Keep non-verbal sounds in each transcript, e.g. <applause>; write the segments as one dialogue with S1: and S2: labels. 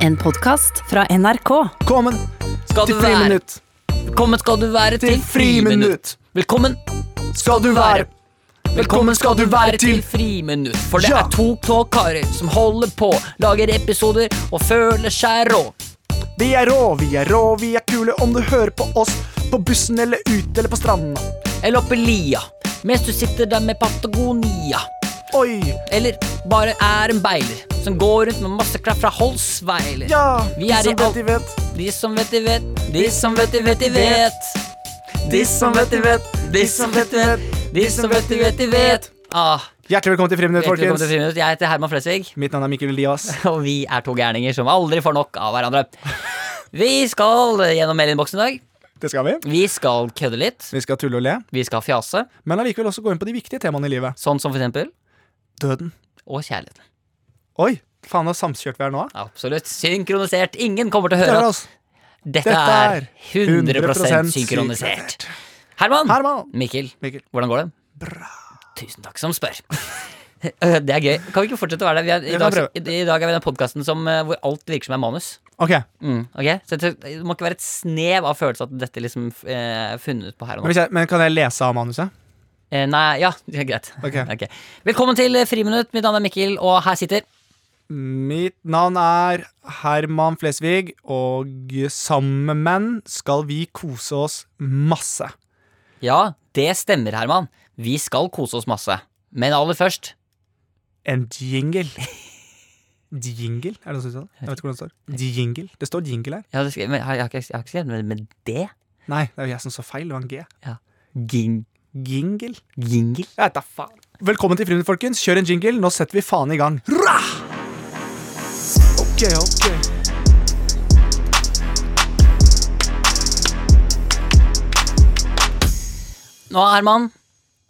S1: En podkast fra NRK.
S2: Velkommen
S3: Skal
S2: til
S3: du være
S2: friminutt.
S3: Velkommen skal du være til
S2: Til friminutt.
S3: Velkommen
S2: Skal du være Velkommen skal du være til
S3: friminutt. For det
S2: Ja.
S3: er to tå karer som holder på, lager episoder og føler seg rå.
S2: Vi er rå, vi er rå, vi er kule om du hører på oss. På bussen eller ute eller på stranda.
S3: Eller oppe i lia, mens du sitter der med Patagonia.
S2: Oi,
S3: Eller bare er en beiler som går rundt med masse klær fra Holsweiler.
S2: ja.
S3: Vi er
S2: de
S3: i
S2: som vet,
S3: alt-
S2: de vet.
S3: De som vet, de vet. De som vet, de vet, de vet. De som vet, de vet. De som vet, de vet. De som vet, de vet, de vet. Ah,
S2: Hjertelig velkommen til Friminutt,
S3: velkommen til
S2: folkens.
S3: Friminutt. Jeg heter Herman Flesvig.
S2: Mitt navn er Mikkel
S3: <laughs>
S2: Elias.
S3: Og vi er to gærninger som aldri får nok av hverandre. Vi skal gjennom mailinnboksen i dag.
S2: Det skal vi.
S3: Vi skal kødde litt.
S2: Vi skal tulle og le,
S3: Vi skal fjase.
S2: men allikevel også gå inn på de viktige temaene i livet.
S3: Sånn som for eksempel
S2: Døden.
S3: Og kjærligheten.
S2: Oi, faen så samkjørt vi er nå. da.
S3: Absolutt. Synkronisert. Ingen kommer til å
S2: Det
S3: høre
S2: er
S3: at
S2: oss.
S3: dette er 100 synkronisert. Herman.
S2: Herman.
S3: Mikkel.
S2: Mikkel.
S3: Hvordan går det?
S2: Bra.
S3: Tusen takk som spør. <laughs> Eh, Det er gøy. Kan vi ikke fortsette å være det? Vi er,
S2: Vi
S3: i,
S2: kan
S3: dag, I dag er vi i den podkasten hvor alt virker som er manus.
S2: Ok, men,
S3: Mm, ok? Så det, det må ikke være et snev av følelse at dette liksom eh, funnet ut på her og nå.
S2: hvis jeg, men kan jeg lese av manuset?
S3: Eh, nei, ja, <laughs> det er greit.
S2: Ok.
S3: Ok. Velkommen til eh, Friminutt. Mitt navn er Mikkel, og her sitter
S2: Mitt navn er Herman Flesvig, og sammen med menn skal vi kose oss masse.
S3: Ja, det stemmer, Herman. Vi skal kose oss masse. Men aller først
S2: En jingle. <laughs> Jingle? Er det noe som står? Jeg vet ikke hvordan det står. Jingle. Det står jingle her.
S3: Ja, det skrev, men, jeg, har ikke- jeg har ikke skrevet med, med det.
S2: Nei, det er jo jeg som så feil. Det var en G.
S3: Ging,
S2: Jingle.
S3: jingle.
S2: Jeg vet da faen. Velkommen til Friminutt, folkens. Kjør en jingle. Nå setter vi faen i gang. Hurra! Ok, ok.
S3: Nå, Herman.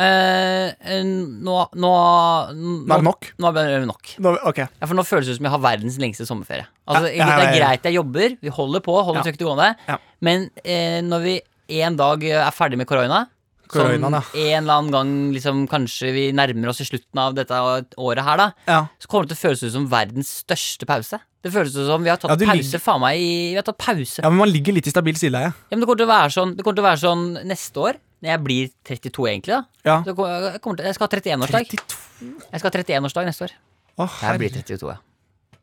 S3: eh, eh, nå, nå, nå
S2: Nå er det nok.
S3: Nå er det nok.
S2: Nå, ok.
S3: Ja, for nå føles det ut som jeg har verdens lengste sommerferie. Altså,
S2: Ja, ja,
S3: Det
S2: ja,
S3: er
S2: ja.
S3: greit jeg jobber, vi holder på, holder
S2: Ja.
S3: trykket gående,
S2: Ja.
S3: men eh, når vi en dag eh, er ferdig med korona
S2: Koronaen, ja.
S3: Som en eller annen gang liksom, kanskje vi nærmer oss i slutten av dette året her, da.
S2: Ja.
S3: Så kommer det til å føles ut som verdens største pause. Det føles ut som vi har tatt
S2: Ja, du
S3: pause,
S2: ligger-
S3: faen meg, i Vi har tatt pause.
S2: ja, men man ligger litt i stabil sideleie.
S3: Ja, men det kommer til å være sånn, det kommer til å være sånn neste år, når jeg blir 32 egentlig, da.
S2: Ja.
S3: Så kommer, jeg, kommer til, jeg skal ha 31-årsdag.
S2: 32.
S3: Jeg skal ha 31-årsdag neste år.
S2: Å,
S3: Jeg
S2: herregud.
S3: blir 32, ja.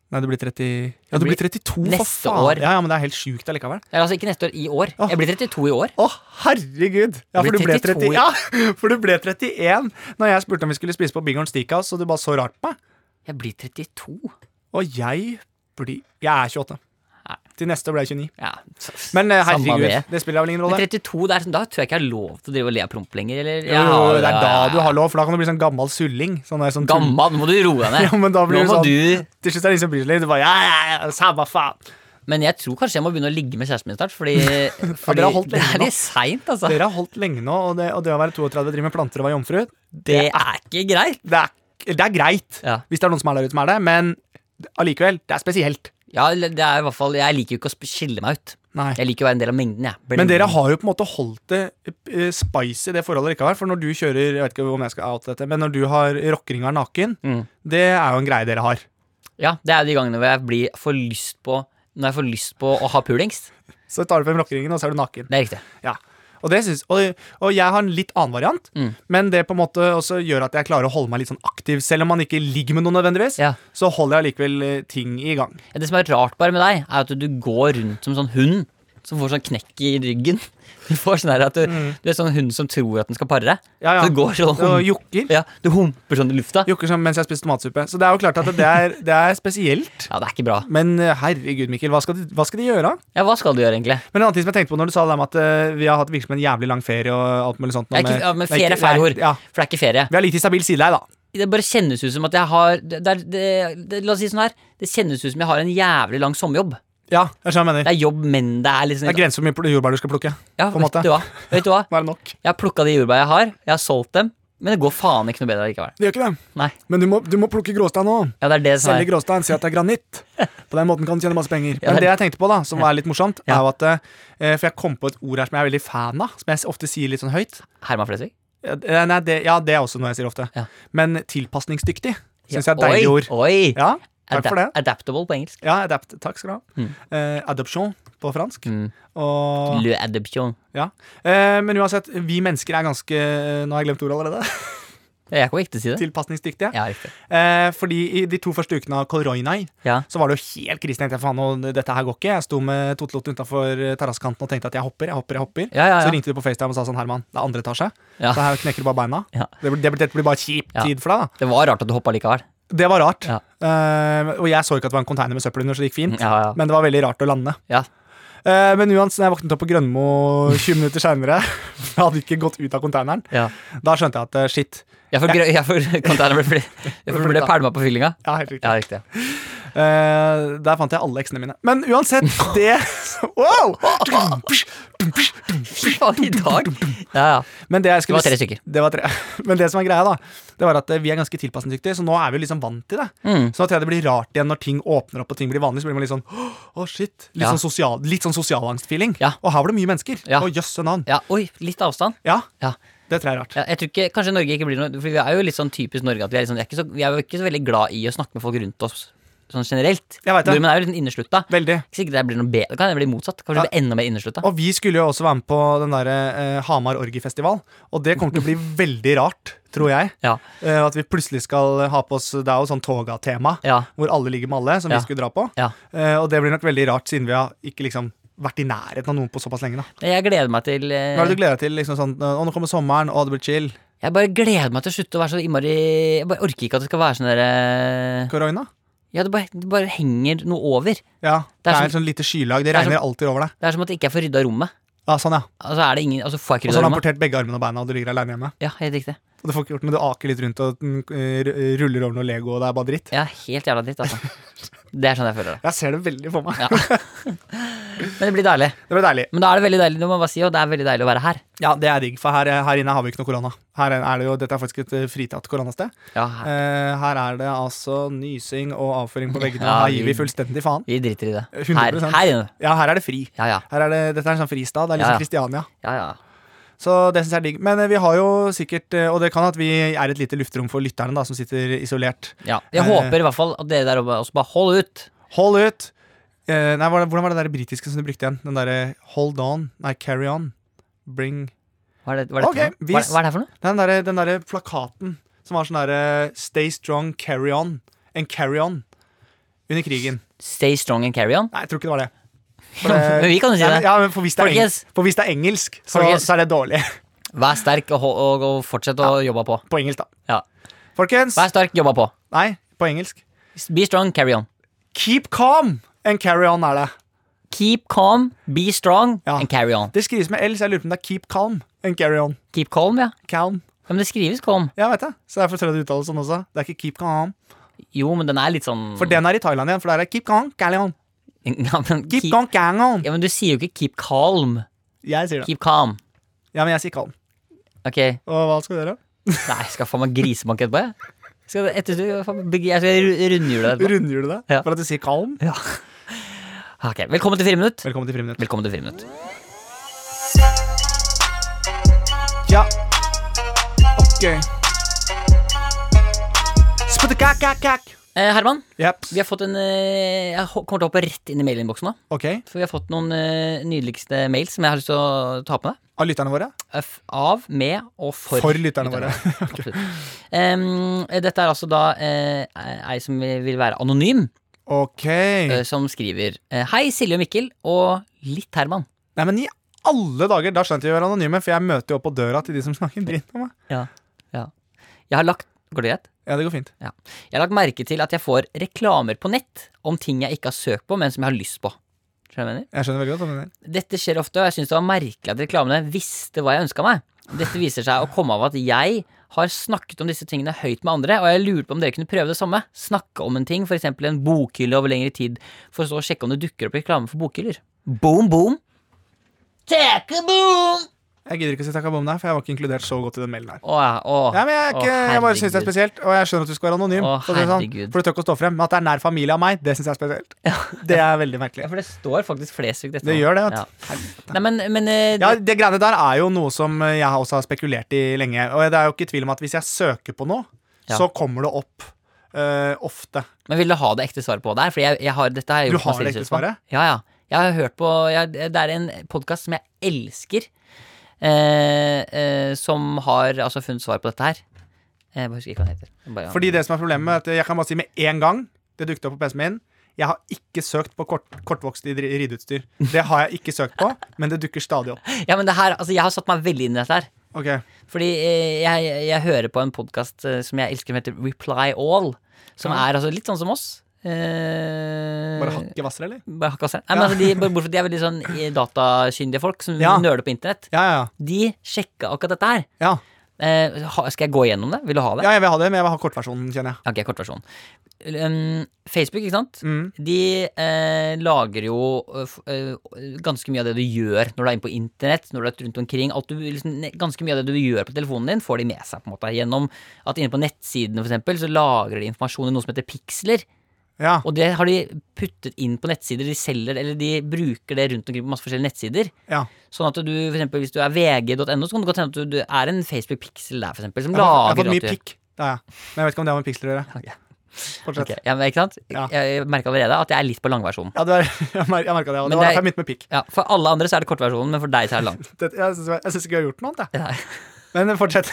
S2: Nei, du blir 30 Ja, du blir 32, for faen.
S3: Neste år.
S2: Ja, ja, men det er helt sjukt allikevel.
S3: Eller altså ikke neste år, i år.
S2: Åh.
S3: Jeg blir 32 i år.
S2: Å, herregud! Ja, for
S3: Du
S2: du, ble 30,
S3: blir 32.
S2: ja, <laughs> for du ble 31 Når jeg spurte om vi skulle spise på Big Horn Steakhouse, og du bare så rart på meg.
S3: Jeg blir 32.
S2: Og jeg blir Jeg er 28.
S3: Nei.
S2: Til neste år blir jeg 29.
S3: Ja.
S2: Men eh,
S3: Samme
S2: herregud,
S3: det.
S2: det. spiller vel ingen
S3: Men
S2: rolle.
S3: 32, det er sånn, da tror jeg ikke jeg har lov til å drive og le av promp lenger. Eller?
S2: Jo, jo, jo, det er da du har lov, for da kan du bli sånn gammal sulling. Sånn der, sånn tull- <laughs>
S3: Gamma, nå må du roe deg ned.
S2: Ja, men da blir
S3: nå
S2: du
S3: må
S2: sånn-
S3: du
S2: Til slutt er det ingen som bryr seg litt. Du bare, ja, ja, ja, samme
S3: <laughs>
S2: faen.
S3: Men jeg tror kanskje jeg må begynne å ligge med kjæresten min
S2: <laughs>
S3: snart, fordi, fordi
S2: dere har holdt
S3: det
S2: lenge
S3: er
S2: nå.
S3: litt seint, altså.
S2: Dere har holdt lenge nå, og det, og det å være 32 og drive med planter og være jomfru,
S3: Det er ikke greit.
S2: det er, det er greit.
S3: Ja.
S2: Hvis det er noen som er der ute som er det, men allikevel, det er spesielt.
S3: Ja, det er i hvert fall Jeg liker jo ikke å sp- skille meg ut.
S2: Nei.
S3: Jeg liker å være en del av mengden, jeg.
S2: Men dere har jo på en måte holdt det eh, spicy, det forholdet dere ikke har. For når du kjører Jeg vet ikke om jeg skal oute dette, men når du har rockeringa naken,
S3: Mm.
S2: det er jo en greie dere har.
S3: Ja, det er jo de gangene hvor jeg blir får lyst på Når jeg får lyst på å ha pulings.
S2: Så tar du frem rockeringen, og så er du naken.
S3: Det er riktig.
S2: Ja. Og, det syns- og, og jeg har en litt annen variant,
S3: Mm.
S2: men det på en måte også gjør at jeg klarer å holde meg litt sånn aktiv. Selv om man ikke ligger med noen nødvendigvis,
S3: Ja.
S2: så holder jeg allikevel eh, ting i gang.
S3: Ja, Det som er rart bare med deg, er at du går rundt som en sånn hund som får sånn knekk i ryggen. <laughs> Du får sånn her at du, du er sånn hund som tror at den skal pare.
S2: Mm. Ja, ja.
S3: Du går sånn
S2: Og jokker.
S3: <laughs> ja, Du humper sånn i lufta.
S2: Jokker som mens jeg spiser tomatsuppe. Så det er jo klart at det er, det er spesielt.
S3: Ja, det er ikke bra.
S2: Men eh, herregud, Mikkel, hva skal de, hva skal de gjøre?
S3: Ja, Hva skal du gjøre, egentlig?
S2: Men en annen ting som jeg tenkte på når du sa det der med at eh, vi har hatt virkelig en jævlig lang ferie og alt mulig sånt nå
S3: Jeg er
S2: med-
S3: ikke, ja, men
S2: det er
S3: ferie
S2: ikke-
S3: er feil
S2: det
S3: ord,
S2: er- Ja.
S3: for det er ikke ferie.
S2: Vi har litt i stabil sideleie, da.
S3: Det bare kjennes ut som at jeg har det, det, er- det, det, La oss si sånn her. Det kjennes ut som jeg har en jævlig lang sommerjobb.
S2: Ja, jeg skjønner hva sånn jeg mener.
S3: Det er jobb, men det er litt
S2: Det er
S3: sånn
S2: grenser for hvor mye pl- jordbær du skal plukke.
S3: ja,
S2: på en måte.
S3: Vet du hva? Vet du hva?
S2: Nå er det nok.
S3: Jeg har plukka de jordbæra jeg har. Jeg har solgt dem. Men det går faen ikke noe bedre likevel.
S2: Det gjør ikke det.
S3: Nei.
S2: Men du må, du må plukke gråstein nå.
S3: Ja, det er det som er
S2: Selge gråstein, si at det er granitt. På den måten kan du tjene masse penger.
S3: Ja,
S2: Men
S3: det-
S2: det jeg tenkte på, da, som er litt morsomt, er
S3: Ja.
S2: jo at eh, For jeg kom på et ord her som jeg er veldig fan av, som jeg ofte sier litt sånn høyt.
S3: Herman Flesvig.
S2: Ja, det- Nei, det, ja, det er også noe jeg sier ofte.
S3: Ja.
S2: Men tilpasningsdyktig syns jeg
S3: Ja,
S2: er et deilig
S3: oi,
S2: ord.
S3: Oi!
S2: Ja, Takk for det.
S3: Adaptable på engelsk.
S2: Ja, adapt, takk skal du ha.
S3: Mm.
S2: Eh, adoption på fransk.
S3: Mm.
S2: Og,
S3: Le adoption.
S2: ja. eh, men uansett, vi mennesker er ganske eh, Nå har jeg glemt ordet allerede. <laughs>
S3: Jeg kommer ikke til å si det.
S2: Tilpasningsdyktige.
S3: Ja, riktig.
S2: Eh, fordi i de to første ukene av Kolroinai
S3: Ja.
S2: så var det jo helt krise. Tenkte jeg, faen, nå, dette her går ikke. Jeg sto med Totelot utafor terrassekanten og tenkte at jeg hopper, jeg hopper, jeg hopper.
S3: Ja, ja,
S2: Så
S3: ja.
S2: ringte du på FaceTime og sa sånn, Herman, det er andre etasje.
S3: Ja.
S2: Så her knekker du bare beina.
S3: Ja.
S2: Det, blir- det, blir- dette blir bare kjip
S3: Ja.
S2: tid for deg, da.
S3: Det var rart at du hoppa likevel.
S2: Det var rart.
S3: Ja.
S2: Eh, og jeg så ikke at det var en container med søppel under, så det gikk fint.
S3: Ja, Mm, ja.
S2: Men det var veldig rart å lande.
S3: Ja.
S2: Eh, men uansett, når jeg våknet opp på Grønmo <laughs> 20 minutter <laughs> seinere, jeg hadde ikke gått ut av konteineren,
S3: ja.
S2: da skjønte jeg at eh, shit.
S3: Jeg får, grø- jeg får
S2: <laughs>
S3: container ble, jeg får ble pælma på fyllinga.
S2: Ja, helt riktig.
S3: Ja, riktig. ja.
S2: Eh, der fant jeg alle eksene mine. Men uansett,
S3: <laughs>
S2: det Wow!
S3: Fy faen, i dag! Ja, ja.
S2: Men det, jeg skulle,
S3: Det var tre stykker.
S2: Det var tre. <laughs> Men det som er greia, da, det var at eh, vi er ganske tilpasningsdyktige, så nå er vi liksom vant til det.
S3: Mm.
S2: Så nå tror jeg det blir rart igjen når ting åpner opp og ting blir vanlig. Så blir man litt sånn åh, åh, shit. Litt
S3: Ja.
S2: sånn, sosial, litt sånn sosialangstfeeling.
S3: Ja.
S2: Og her var det mye mennesker.
S3: Ja.
S2: Og jøsse navn.
S3: ja. Oi, litt avstand.
S2: Ja.
S3: Ja.
S2: Det tror jeg er rart.
S3: Ja, jeg tror ikke, Kanskje Norge ikke blir noe For vi er jo litt sånn typisk Norge at vi er, liksom, vi er, ikke, så, vi er jo ikke så veldig glad i å snakke med folk rundt oss sånn generelt.
S2: Jeg vet det.
S3: Nordmenn er jo litt sånn inneslutta.
S2: Veldig.
S3: Ikke sikkert det blir noe bedre. Kan det bli motsatt? Kanskje det blir enda mer inneslutta?
S2: Og vi skulle jo også være med på den der eh, Hamar orgiefestival, og det kommer til å bli
S3: <laughs>
S2: veldig rart, tror jeg.
S3: Ja.
S2: Eh, at vi plutselig skal ha på oss Det er jo sånn toga-tema,
S3: Ja.
S2: hvor alle ligger med alle, som
S3: Ja.
S2: vi skulle dra på.
S3: ja.
S2: Eh, og det blir nok veldig rart, siden vi har ikke liksom vært i nærheten av noen på såpass lenge. da
S3: Nei, Jeg gleder meg til eh,
S2: Hva er det du gleder deg til? liksom sånn, Å, nå kommer sommeren, å, det blir chill.
S3: Jeg bare gleder meg til å slutte å være så innmari Jeg bare orker ikke at det skal være sånn derre
S2: Corona?
S3: Ja, det bare, det bare henger noe over.
S2: Ja.
S3: Det
S2: Det
S3: er
S2: er
S3: som-
S2: et sånn lite skylag. Det
S3: er sånn som-
S2: regner alltid over deg.
S3: Det er som at jeg ikke får rydda rommet.
S2: Ja, sånn, ja.
S3: Altså er det ingen Altså får jeg ikke
S2: Og så
S3: rydda
S2: har du
S3: rommet.
S2: amputert begge armene og beina, og du ligger aleine hjemme.
S3: Ja, helt riktig.
S2: Og du får ikke gjort noe, du aker litt rundt og mm, eh, ruller over noe Lego, og det er bare dritt.
S3: Ja, helt jævla dritt,
S2: <laughs>
S3: altså. Det er sånn jeg føler det.
S2: Jeg ser det veldig for meg.
S3: Ja. <laughs> Men det blir deilig.
S2: Det blir deilig.
S3: Men da er det veldig deilig, det må man bare si, og det er veldig deilig å være her.
S2: Ja, det er digg, for her, eh, her inne har vi ikke noe korona. Her er det jo, Dette er faktisk et eh, fritatt koronasted.
S3: Ja, her.
S2: Eh, her er det altså nysing og avføring <laughs> på veggene.
S3: Ja,
S2: Her gir
S3: vi-
S2: vi fullstendig faen.
S3: Vi driter i det. Her,
S2: 100%.
S3: her inne.
S2: Ja, her er det fri.
S3: Ja, ja.
S2: Her er det, dette er en sånn fristad. Det er
S3: Ja, ja.
S2: liksom Kristiania.
S3: ja, ja.
S2: Så det syns jeg er digg. Men eh, vi har jo sikkert eh, Og det kan at vi er et lite luftrom for lytterne, da, som sitter isolert.
S3: ja. Jeg
S2: Eh.
S3: håper i hvert fall at dere der oppe også bare hold ut.
S2: Hold ut! Eh, nei, hva- hvordan var det der britiske som du brukte igjen? Den derre hold on, nei, carry on, bring
S3: Hva er det, hva er det,
S2: Ok,
S3: for, noe?
S2: vi
S3: hva, er- hva er det her for noe?
S2: Den derre den derre plakaten som var sånn derre Stay strong, carry on. And carry on. Under krigen.
S3: Stay strong and carry on.
S2: Nei, jeg tror ikke det var det. For det-
S3: Men <laughs> vi kan jo si
S2: Nei, men-
S3: det.
S2: Ja, men for hvis det er,
S3: Folkens.
S2: eng for hvis det er engelsk, så,
S3: Folkens.
S2: så er det dårlig. <laughs>
S3: Vær sterk og, ho- og, og fortsett å jobbe på.
S2: På engelsk, da.
S3: Ja.
S2: Folkens.
S3: Vær sterk, jobbe på.
S2: Nei, på engelsk.
S3: Be strong, carry on.
S2: Keep calm and carry on er det.
S3: Keep calm, be strong
S2: Ja.
S3: and carry on.
S2: Det skrives med L, så jeg lurer på om det er keep calm and carry on.
S3: Keep calm, ja.
S2: Calm.
S3: ja men det skrives calm.
S2: Ja, vet jeg. Så derfor tror jeg det uttales sånn også. Det er ikke keep calm.
S3: Jo, men den er litt sånn
S2: For den er i Thailand igjen, for der er keep calm, carry on.
S3: <laughs> ja, men,
S2: Keep,
S3: keep,
S2: calm, carry on.
S3: ja, men du sier jo ikke keep calm.
S2: Jeg sier det.
S3: Keep calm.
S2: Ja, men jeg sier calm.
S3: Ok.
S2: Og hva skal du gjøre?
S3: Nei, jeg skal faen meg grisebanke etterpå, jeg. Skal, etter, jeg skal ru- rundhjule deg etterpå.
S2: Rundgjør du det?
S3: Ja.
S2: For at du sier calm?
S3: Ok, Velkommen til Friminutt.
S2: Velkommen til Friminutt.
S3: Velkommen til Friminutt.
S2: Ja. Ok. Sputtekakakak.
S3: Eh, Herman,
S2: Yep.
S3: vi har fått en eh, Jeg ho- kommer til å hoppe rett inn i mailinnboksen nå.
S2: Ok.
S3: For vi har fått noen eh, nydeligste mails som jeg har lyst til å ta på deg.
S2: Av lytterne våre?
S3: F- Av, med og for,
S2: For lytterne våre. <laughs>
S3: Absolutt. Em, dette er altså da eh, ei som vil være anonym,
S2: Ok.
S3: eh, som skriver eh, Hei, Silje og Mikkel og litt Herman.
S2: Nei, men i alle dager, da skjønte jeg å være anonyme, for jeg møter jo opp på døra til de som snakker dritt om meg.
S3: Jeg har lagt Går det greit?
S2: Ja, det går fint.
S3: Jeg har lagt merke til at jeg får reklamer på nett om ting jeg ikke har søkt på, men som jeg har lyst på. Skjønner du hva jeg mener?
S2: Jeg skjønner veldig godt hva du mener.
S3: Dette skjer ofte, og jeg syns det var merkelig at reklamene visste hva jeg ønska meg. Dette viser seg å komme av at jeg har snakket om disse tingene høyt med andre, og jeg lurer på om dere kunne prøve det samme. Snakke om en ting, f.eks. en bokhylle over lengre tid, for så å sjekke om det dukker opp reklame for bokhyller. Boom, boom. Take a boom!
S2: Jeg gidder ikke å si takk og bom der, for jeg var ikke inkludert så godt i den mailen her.
S3: Å, ja, å,
S2: Ja, men jeg, er ikke, jeg bare syns det er
S3: herregud.
S2: spesielt, og jeg skjønner at du skal være anonym.
S3: Å,
S2: for, å si det
S3: herregud.
S2: sånn, for du tør ikke å stå frem. Men at det er nær familie av meg, det syns jeg er spesielt. Det er veldig
S3: Ja,
S2: merkelig.
S3: for det står faktisk Flesvig dette.
S2: Det
S3: nå.
S2: gjør det. Vet.
S3: Ja.
S2: du. Herregud.
S3: Nei, men, men eh,
S2: Ja,
S3: det-
S2: Det greiene der er jo noe som jeg også har spekulert i lenge. Og det er jo ikke tvil om at hvis jeg søker på noe,
S3: Ja.
S2: så kommer det opp. eh, eh, ofte.
S3: Men vil du ha det ekte svaret på der? Fordi jeg, jeg har, dette har
S2: Du
S3: jeg gjort
S2: har
S3: masse
S2: det ekte
S3: research på.
S2: svaret?
S3: Ja, ja. Jeg har hørt på jeg, Det er en podkast som jeg elsker, eh, eh, som har altså funnet svar på dette her. Eh, Jeg bare husker ikke hva den heter. Jeg Bare,
S2: Fordi det som er problemet, er at jeg kan bare si med en gang det dukket opp på PC-en min jeg har ikke søkt på kort, kortvokst i dri- rideutstyr. Det har jeg ikke søkt på, men det dukker stadig opp.
S3: Ja, men det her, altså, jeg har satt meg veldig inn i dette her.
S2: Ok,
S3: Fordi eh, jeg, jeg hører på en podkast som jeg elsker, som heter Reply All. Som
S2: Ja.
S3: er altså litt sånn som oss. Eh,
S2: Bare hakket hvassere, eller?
S3: bare hakka seg. Nei, men
S2: Ja.
S3: altså, de, bare bortsett, de er veldig sånn eh, datakyndige folk som
S2: Ja.
S3: nøler på internett.
S2: Ja, ja,
S3: De sjekka akkurat dette her.
S2: ja.
S3: Eh, ha- skal jeg gå gjennom det? Vil du ha det?
S2: Ja, jeg vil ha det, men jeg vil ha kortversjonen, kjenner jeg.
S3: Ok, kortversjon. Um, Facebook, ikke sant?
S2: Mm.
S3: De eh, lager jo eh, f- eh, ganske mye av det du gjør når du er inne på internett, når du er rundt omkring. Alt du, liksom, ne- ganske mye av det du gjør på telefonen din, får de med seg på en måte gjennom at inne på nettsidene for eksempel, så lagrer de informasjon i noe som heter piksler.
S2: Ja,
S3: Og det har de puttet inn på nettsider. De selger, eller de bruker det rundt omkring på masse forskjellige nettsider.
S2: ja.
S3: Sånn at du, for eksempel, hvis du er vg.no, så kan det godt hende at du, du er en Facebook-pixel der, for eksempel, som
S2: Jeg har fått- jeg har
S3: lager
S2: fått
S3: at
S2: mye
S3: du-
S2: pikk, det har jeg. Men jeg vet ikke om det har med piksler å gjøre.
S3: Ok.
S2: Fortsett.
S3: Ok, ja, men ikke sant?
S2: Ja.
S3: Jeg, jeg merker allerede at jeg er litt på langversjonen.
S2: Ja, det var, <laughs> jeg mer- jeg merket det, og det var
S3: Men det er-
S2: derfor jeg begynte med pikk.
S3: Ja, for alle andre så er det kortversjonen, men for deg så er
S2: <laughs>
S3: det lang.
S2: Det, jeg syns jeg synes ikke vi har gjort noe annet, jeg.
S3: Nei.
S2: Men
S3: <laughs>
S2: fortsett.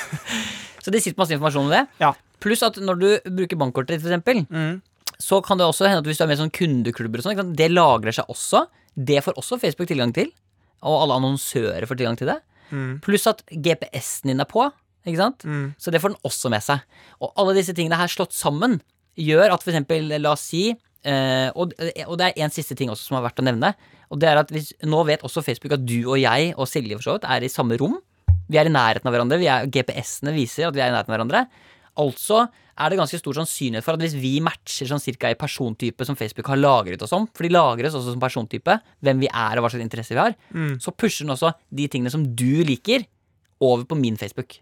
S3: Så det sitter masse informasjon om det.
S2: Ja.
S3: Pluss at når du bruker bankkortet ditt, for eksempel,
S2: Mm.
S3: så kan det også hende at hvis du er med i sånne kundeklubber og sånn, ikke sant, det lagrer seg også. Det får også Facebook tilgang til. Og alle annonsører får tilgang til det.
S2: Mm.
S3: Pluss at GPS-en din er på, ikke sant?
S2: Mm.
S3: Så det får den også med seg. Og alle disse tingene her slått sammen gjør at for eksempel, la oss si eh, og, og det er en siste ting også som har vært å nevne. Og det er at hvis, Nå vet også Facebook at du og jeg og Silje for så vidt er i samme rom. Vi er i nærheten av hverandre. vi er- GPS-ene viser at vi er i nærheten av hverandre. Altså er det ganske stor sannsynlighet for at hvis vi matcher sånn cirka i persontype som Facebook har lagret oss om, for de lagres også som persontype, hvem vi er og hva slags interesser vi har,
S2: Mm.
S3: så pusher den også de tingene som du liker, over på min Facebook.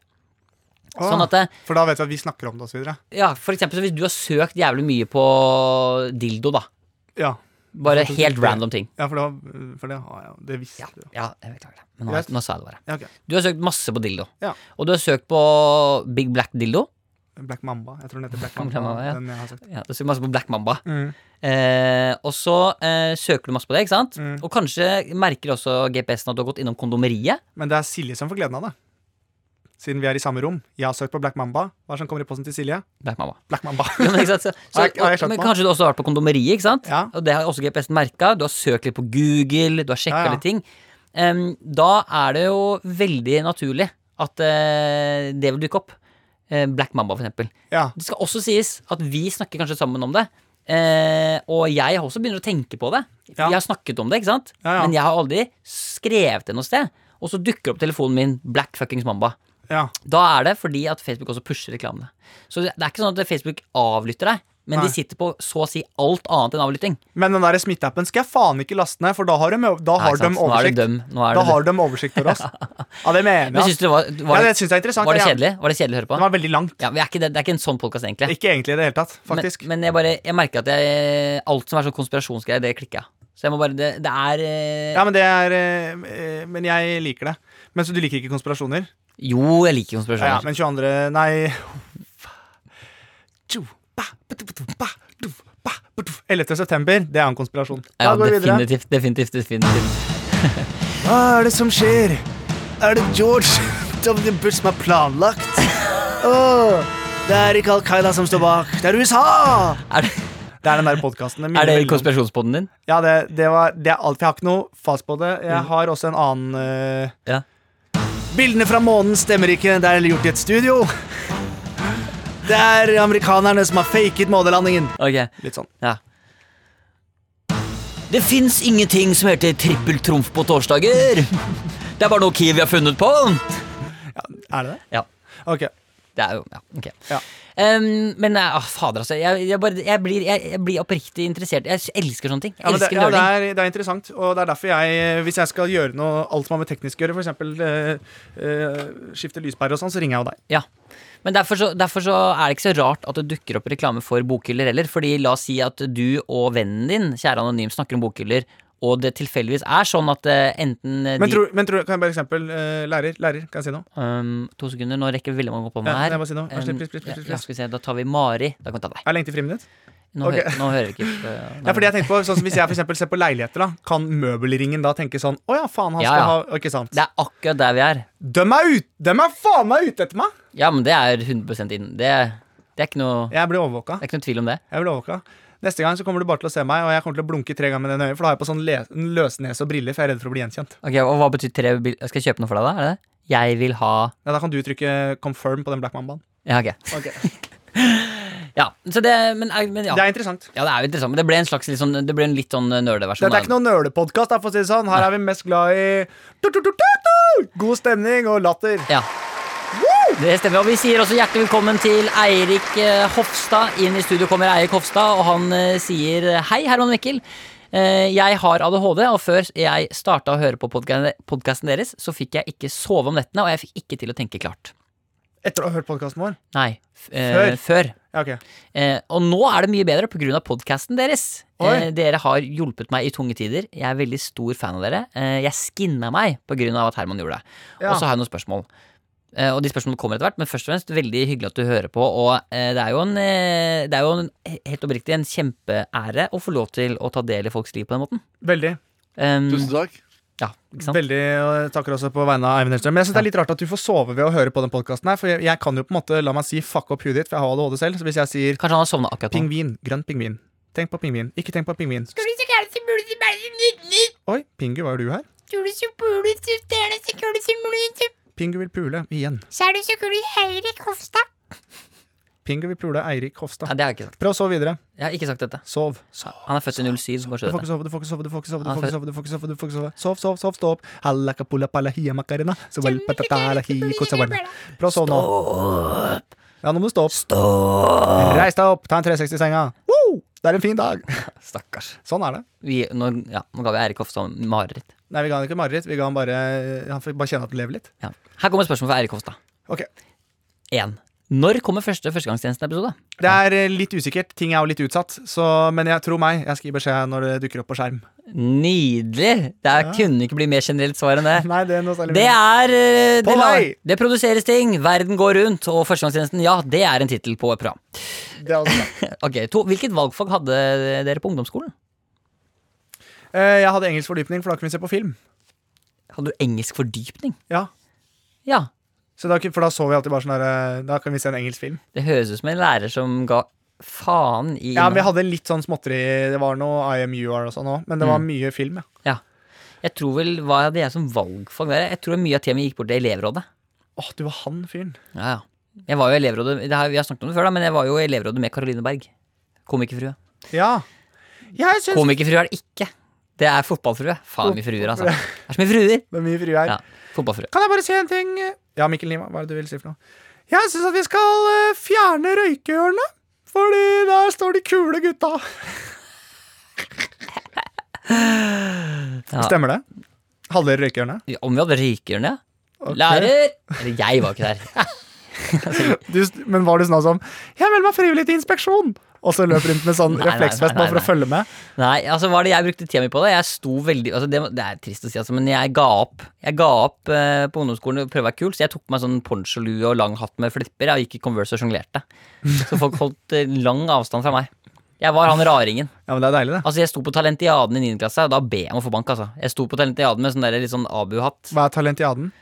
S2: Å,
S3: Sånn at det,
S2: For da vet vi at vi snakker om det, og så videre.
S3: ja, for eksempel så hvis du har søkt jævlig mye på dildo, da.
S2: Ja.
S3: Bare
S2: Hvorfor
S3: helt
S2: ikke det?
S3: random ting.
S2: Ja, for det, var- for det har jeg jo. Det visste
S3: Ja,
S2: du.
S3: ja jeg beklager det. Men nå,
S2: Greit.
S3: nå sa jeg det bare.
S2: Ja, ok.
S3: Du har søkt masse på dildo.
S2: Ja.
S3: Og du har søkt på Big Black Dildo.
S2: Black Mamba. Jeg tror den heter Black
S3: <laughs> Black
S2: Mamba.
S3: Mamba, ja.
S2: Den jeg har sagt.
S3: Ja, du har søkt masse på Black Mamba.
S2: Mm.
S3: Eh, og så eh, søker du masse på det, ikke sant?
S2: Mm.
S3: Og kanskje merker også GPS-en at du har gått innom kondomeriet.
S2: Men det er Silje som får gleden av det. Siden vi er i samme rom. Jeg har søkt på Black Mamba. Hva er det som kommer i posten til Silje?
S3: Black Mamba. <laughs>
S2: Black Mamba.
S3: Ja, men, ikke sant? Så, så,
S2: Har jeg- har jeg skjønt
S3: men
S2: meg?
S3: kanskje du også har vært på kondomeriet, ikke sant?
S2: Ja.
S3: Og det har også GPS-en merka. Du har søkt litt på Google, du har sjekka
S2: Ja, ja.
S3: litt ting. Em, da er det jo veldig naturlig at eh, det vil dukke opp. Eh, Black Mamba, for eksempel.
S2: Ja.
S3: Det skal også sies at vi snakker kanskje sammen om det. Eh, og jeg har også begynner å tenke på det.
S2: Ja.
S3: Jeg har snakket om det, ikke sant?
S2: Ja, ja.
S3: Men jeg har aldri skrevet det noe sted. Og så dukker opp telefonen min Black fuckings Mamba.
S2: ja.
S3: Da er det fordi at Facebook også pusher reklamene. Så det det er ikke sånn at Facebook avlytter deg, men
S2: Nei.
S3: de sitter på så å si alt annet enn avlytting.
S2: Men den der smitteappen skal jeg faen ikke laste ned, for da har de, da
S3: Nei,
S2: har
S3: sant?
S2: de
S3: Nå er det
S2: oversikt.
S3: døm. Nå er
S2: Da
S3: det
S2: har de oversikt
S3: <laughs>
S2: over oss. Ja, det mener
S3: Men
S2: jeg.
S3: synes du det var,
S2: Ja,
S3: var,
S2: det syns jeg er interessant.
S3: var det
S2: ja.
S3: kjedelig? Var det kjedelig å høre på?
S2: Den var veldig langt.
S3: Ja, vi er ikke, det, det er ikke en sånn podkast, egentlig.
S2: Ikke egentlig i det hele tatt, faktisk.
S3: Men, men jeg bare, jeg merker at jeg, alt som er sånn konspirasjonsgreier, det klikker jeg. Så jeg må bare, det, det er eh,
S2: ja, men det er eh, eh, Men jeg liker det. Men så du liker ikke konspirasjoner?
S3: Jo, jeg
S2: Ja,
S3: liker
S2: ja,
S3: konspirasjoner.
S2: men 22. Nei Tjo, ba, ba-du, ba-du, ba, du, ba, ba-du. 11. september, det er en konspirasjon.
S3: Ja,
S2: Da går vi videre.
S3: definitivt, definitivt, definitivt.
S2: Hva er det som skjer? Er det George <laughs> W. Bush som er planlagt? Åh, det er ikke Al Qaida som står bak, det er USA!
S3: Er det,
S2: Det er den der podkasten.
S3: er det konspirasjonspodden din?
S2: Ja, det, det, var, det er alt. Jeg har ikke noe fast på det.
S3: Mm.
S2: Jeg har også en annen eh,
S3: Ja.
S2: Bildene fra månen stemmer ikke. Det er gjort i et studio. Det er amerikanerne som har faket månelandingen.
S3: Ok.
S2: Litt sånn.
S3: Ja. Det fins ingenting som heter trippeltrumf på torsdager. Det er bare noe Kiwi har funnet på.
S2: Er det det?
S3: Ja.
S2: Ok.
S3: Det er jo, ja, ok.
S2: Ja.
S3: Em, men nei, ah, fader, altså. Jeg, jeg, bare, jeg, blir, jeg, jeg blir oppriktig interessert. Jeg elsker sånne ting. Jeg
S2: Ja, men det,
S3: elsker
S2: ja, det,
S3: nøling.
S2: er, det er interessant, og det er derfor jeg, hvis jeg skal gjøre noe alt som har med teknisk å gjøre, f.eks. Eh, skifte lyspære og sånn, så ringer jeg jo deg.
S3: Ja. Men derfor så, derfor så er det ikke så rart at det dukker opp reklame for bokhyller heller. Fordi la oss si at du og vennen din, kjære anonym, snakker om bokhyller, og det tilfeldigvis er sånn at eh, enten eh,
S2: Men
S3: de
S2: tror, men tror, kan jeg bare eksempel eh, Lærer, lærer, kan jeg si noe?
S3: Øhm, To sekunder, nå rekker veldig mange opp hånda
S2: Ja,
S3: her.
S2: jeg må si noe. Vær så snill,
S3: Øhm,
S2: please, please, please,
S3: ja,
S2: please.
S3: skal vi se, da tar vi Mari. Da kan vi ta deg.
S2: Er lenge til friminutt?
S3: Nå,
S2: Ok.
S3: hører, nå hører vi ikke eh,
S2: Ja,
S3: nei.
S2: fordi jeg tenkte på, sånn som Hvis jeg for eksempel ser på leiligheter, da kan møbelringen da tenke sånn Å ja, faen, han
S3: Ja,
S2: skal
S3: ja.
S2: ha Ikke sant?
S3: Det er akkurat der vi er.
S2: Dem er ut, dem er faen meg ute etter meg!
S3: Ja, men det er 100 inn. Det, det, er ikke noe, det
S2: Jeg blir overvåka.
S3: er ikke noe tvil om det.
S2: Jeg blir overvåka. Neste gang så kommer du bare til å se meg, og jeg kommer til å blunke tre ganger med den øyet, for da har jeg på sånn le løsnese og briller, for jeg er redd for å bli gjenkjent.
S3: Ok, og hva betyr tre bil... Skal jeg kjøpe noe for deg, da? Er det det? Jeg vil ha
S2: Ja, Da kan du trykke confirm på den Black Mambaen.
S3: Ja, ok.
S2: <laughs>
S3: Ja, så det Men, er- men ja.
S2: Det er interessant.
S3: ja, det er jo interessant. Men det ble en slags litt sånn, det ble en litt sånn nerdeversjon.
S2: Dette er ikke noen nølepodkast, for å si det sånn. Her er vi mest glad i tu-tu-tu-tu-tu! god stemning og latter.
S3: Ja. Det stemmer. Og vi sier også hjertelig velkommen til Eirik eh, Hofstad. Inn i studio kommer Eirik Hofstad, og han eh, sier hei, Herman Mikkel. Eh, Jeg har ADHD, og før jeg starta å høre på podkasten deres, så fikk jeg ikke sove om nettene, og jeg fikk ikke til å tenke klart.
S2: Etter å ha hørt podkasten vår.
S3: Nei. f- eh, Før.
S2: Ja, ok.
S3: Eh, og nå er det mye bedre pga. podkasten deres.
S2: Oi.
S3: Eh, dere har hjulpet meg i tunge tider. Jeg er veldig stor fan av dere. Eh, jeg skinna meg pga. at Herman gjorde det.
S2: Ja.
S3: Og så har jeg noen spørsmål. Eh, og de spørsmålene kommer etter hvert, men først og fremst veldig hyggelig at du hører på. Og eh, det er jo, en, eh, det er jo en, helt oppriktig en kjempeære å få lov til å ta del i folks liv på den måten.
S2: Veldig.
S3: Um,
S4: Tusen
S5: Mm.
S4: takk.
S3: ja, ikke sant?
S2: Veldig, og jeg takker også på vegne av Eivind Hellstrøm. Men jeg synes det er litt rart at du får sove ved å høre på den podkasten her, for jeg, jeg kan jo på en måte la meg si fuck opp huet ditt, for jeg har ADHD selv. Så hvis jeg sier
S3: Kanskje han har sovna akkurat nå.
S2: pingvin, grønn pingvin, tenk på pingvin, ikke tenk på pingvin Oi, Pingu, var jo du her? Pingu vil pule igjen. Pingu vil pule Eirik
S3: Nei,
S2: Hofstad.
S3: det har jeg ikke sagt.
S2: Prøv å sove videre.
S3: Jeg har ikke sagt dette.
S2: Sov.
S3: Han er født i 07, så
S2: Du får
S3: bare skjønner dette.
S2: ikke sove, du får ikke sove, du får ikke sove. du
S3: Ah,
S2: får ikke
S3: for-
S2: sove, du får ikke sove, du får ikke sove. Sov, sov, sov, stå opp. Halla kapula pala hia makarena. Så vel patatala hi kosawana. Prøv å sove nå. Ja, nå må du stå opp. Reis deg opp, ta en 360 i senga. Woo! Det er en fin dag.
S3: Stakkars.
S2: Sånn er det.
S3: Vi, nå, ja, nå ga vi Eirik Hofstad mareritt.
S2: Nei, vi ga han ikke mareritt. Vi ga han bare Han fikk bare kjenne at han lever litt.
S3: Ja. Her kommer spørsmål fra Eirik Hofstad.
S2: Ok.
S3: 1. Når kommer første Førstegangstjenesten-episode?
S2: Det er eh, litt usikkert. Ting er jo litt utsatt. Så, men jeg tror meg. Jeg skal gi beskjed når det dukker opp på skjerm.
S3: Nydelig! Det er, kunne ikke bli mer generelt svar enn
S2: <laughs>
S3: det.
S2: <laughs> Nei, det er noe særlig
S3: Det er eh,
S2: På
S3: det, la-
S2: vei!
S3: det produseres ting, verden går rundt, og Førstegangstjenesten, ja, det er en tittel på et program.
S2: Det er også bra.
S3: Ok, to, Hvilket valgfag hadde dere på ungdomsskolen?
S2: <laughs> Eh, Jeg hadde engelsk fordypning, for da kunne vi se på film.
S3: Hadde du engelsk fordypning?
S2: Ja
S3: Ja.
S2: så da, for da så vi alltid bare sånn her eh, Da kan vi se en engelsk film.
S3: Det høres ut som en lærer som ga faen i
S2: Ja, men Vi
S3: innhold.
S2: hadde litt sånn småtteri. Det var noe IMUR og sånn òg, men det var mye film. ja
S3: ja. Jeg tror vel, Hva hadde jeg som valgfag der? Jeg tror mye av temaet gikk bort til elevrådet.
S2: Åh, du var han fyren.
S3: Ja, ja. Jeg var jo i elevrådet, det har, Vi har snakket om det før, da, men jeg var jo i elevrådet med Caroline Berg. Komikerfrue.
S2: Ja. Jeg syns
S3: Komikerfrue er det ikke. Det er fotballfrue. Faen, mye fruer, altså. Det er så mye fruer.
S2: Det er mye frue her.
S3: Ja, fotballfrue.
S2: Kan jeg bare si en ting? Ja, Mikkel Nima, hva er det du vil si for noe? Jeg syns at vi skal eh, fjerne røykehjørnet. Fordi der står de kule gutta.
S3: Ja.
S2: Stemmer det? Halvdel røykehjørnet?
S3: Ja, Om vi hadde røykerne?
S2: Ok.
S3: Lærer! Eller jeg var ikke der.
S2: Du, st- men var du sånn som Jeg melder meg frivillig til inspeksjon! Og så løp rundt med sånn
S3: Nei, nei,
S2: refleksvest
S3: nei,
S2: bare for å
S3: nei,
S2: følge med.
S3: Nei, altså hva er det jeg brukte tida mi på? det? Jeg sto veldig altså, det, det er trist å si, altså, men jeg ga opp. Jeg ga opp eh, på ungdomsskolen og prøvde å være kul, så jeg tok på meg sånn poncholue og lang hatt med flipper. Jeg gikk i Converse og sjonglerte. Så folk holdt eh, lang avstand fra meg. Jeg var han raringen.
S2: Ja, men det er deilig, det.
S3: Altså, jeg sto på Talentiaden i 9. klasse, og da ber jeg om å få bank, altså. Jeg sto på Talentiaden med sånn der, litt sånn abu-hatt.
S2: Hva er talentiaden?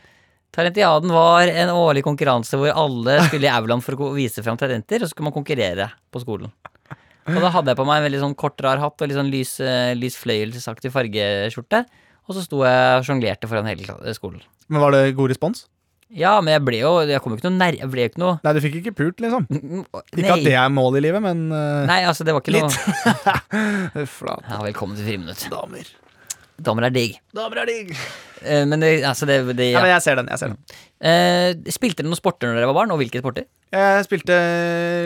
S3: Talentiaden var en årlig konkurranse hvor alle skulle i aulaen for å ko- vise fram talenter, og så skulle man konkurrere på skolen. Og da hadde jeg på meg en veldig sånn kort, rar hatt og litt sånn lys, eh, lys fløyelsaktig fargeskjorte, og så sto jeg og sjonglerte foran hele kla- eh, skolen.
S2: Men Var det god respons?
S3: Ja, men jeg ble jo Jeg kom jo ikke noe nær... Jeg ble jo ikke noe
S2: Nei, du fikk ikke pult, liksom. Ikke at det
S3: Nei,
S2: er målet i livet, men uh,
S3: nei altså, det var ikke noe
S2: <laughs> Flate
S3: Ja, velkommen til Friminutt.
S2: damer.
S3: Damer er digg.
S2: Damer er digg.
S3: Eh, Men det, altså, det, det
S2: Ja,
S3: ja.
S2: men jeg ser den. Jeg ser den.
S3: Eh, Spilte dere noen sporter når dere var barn, og hvilke sporter?
S2: Jeg spilte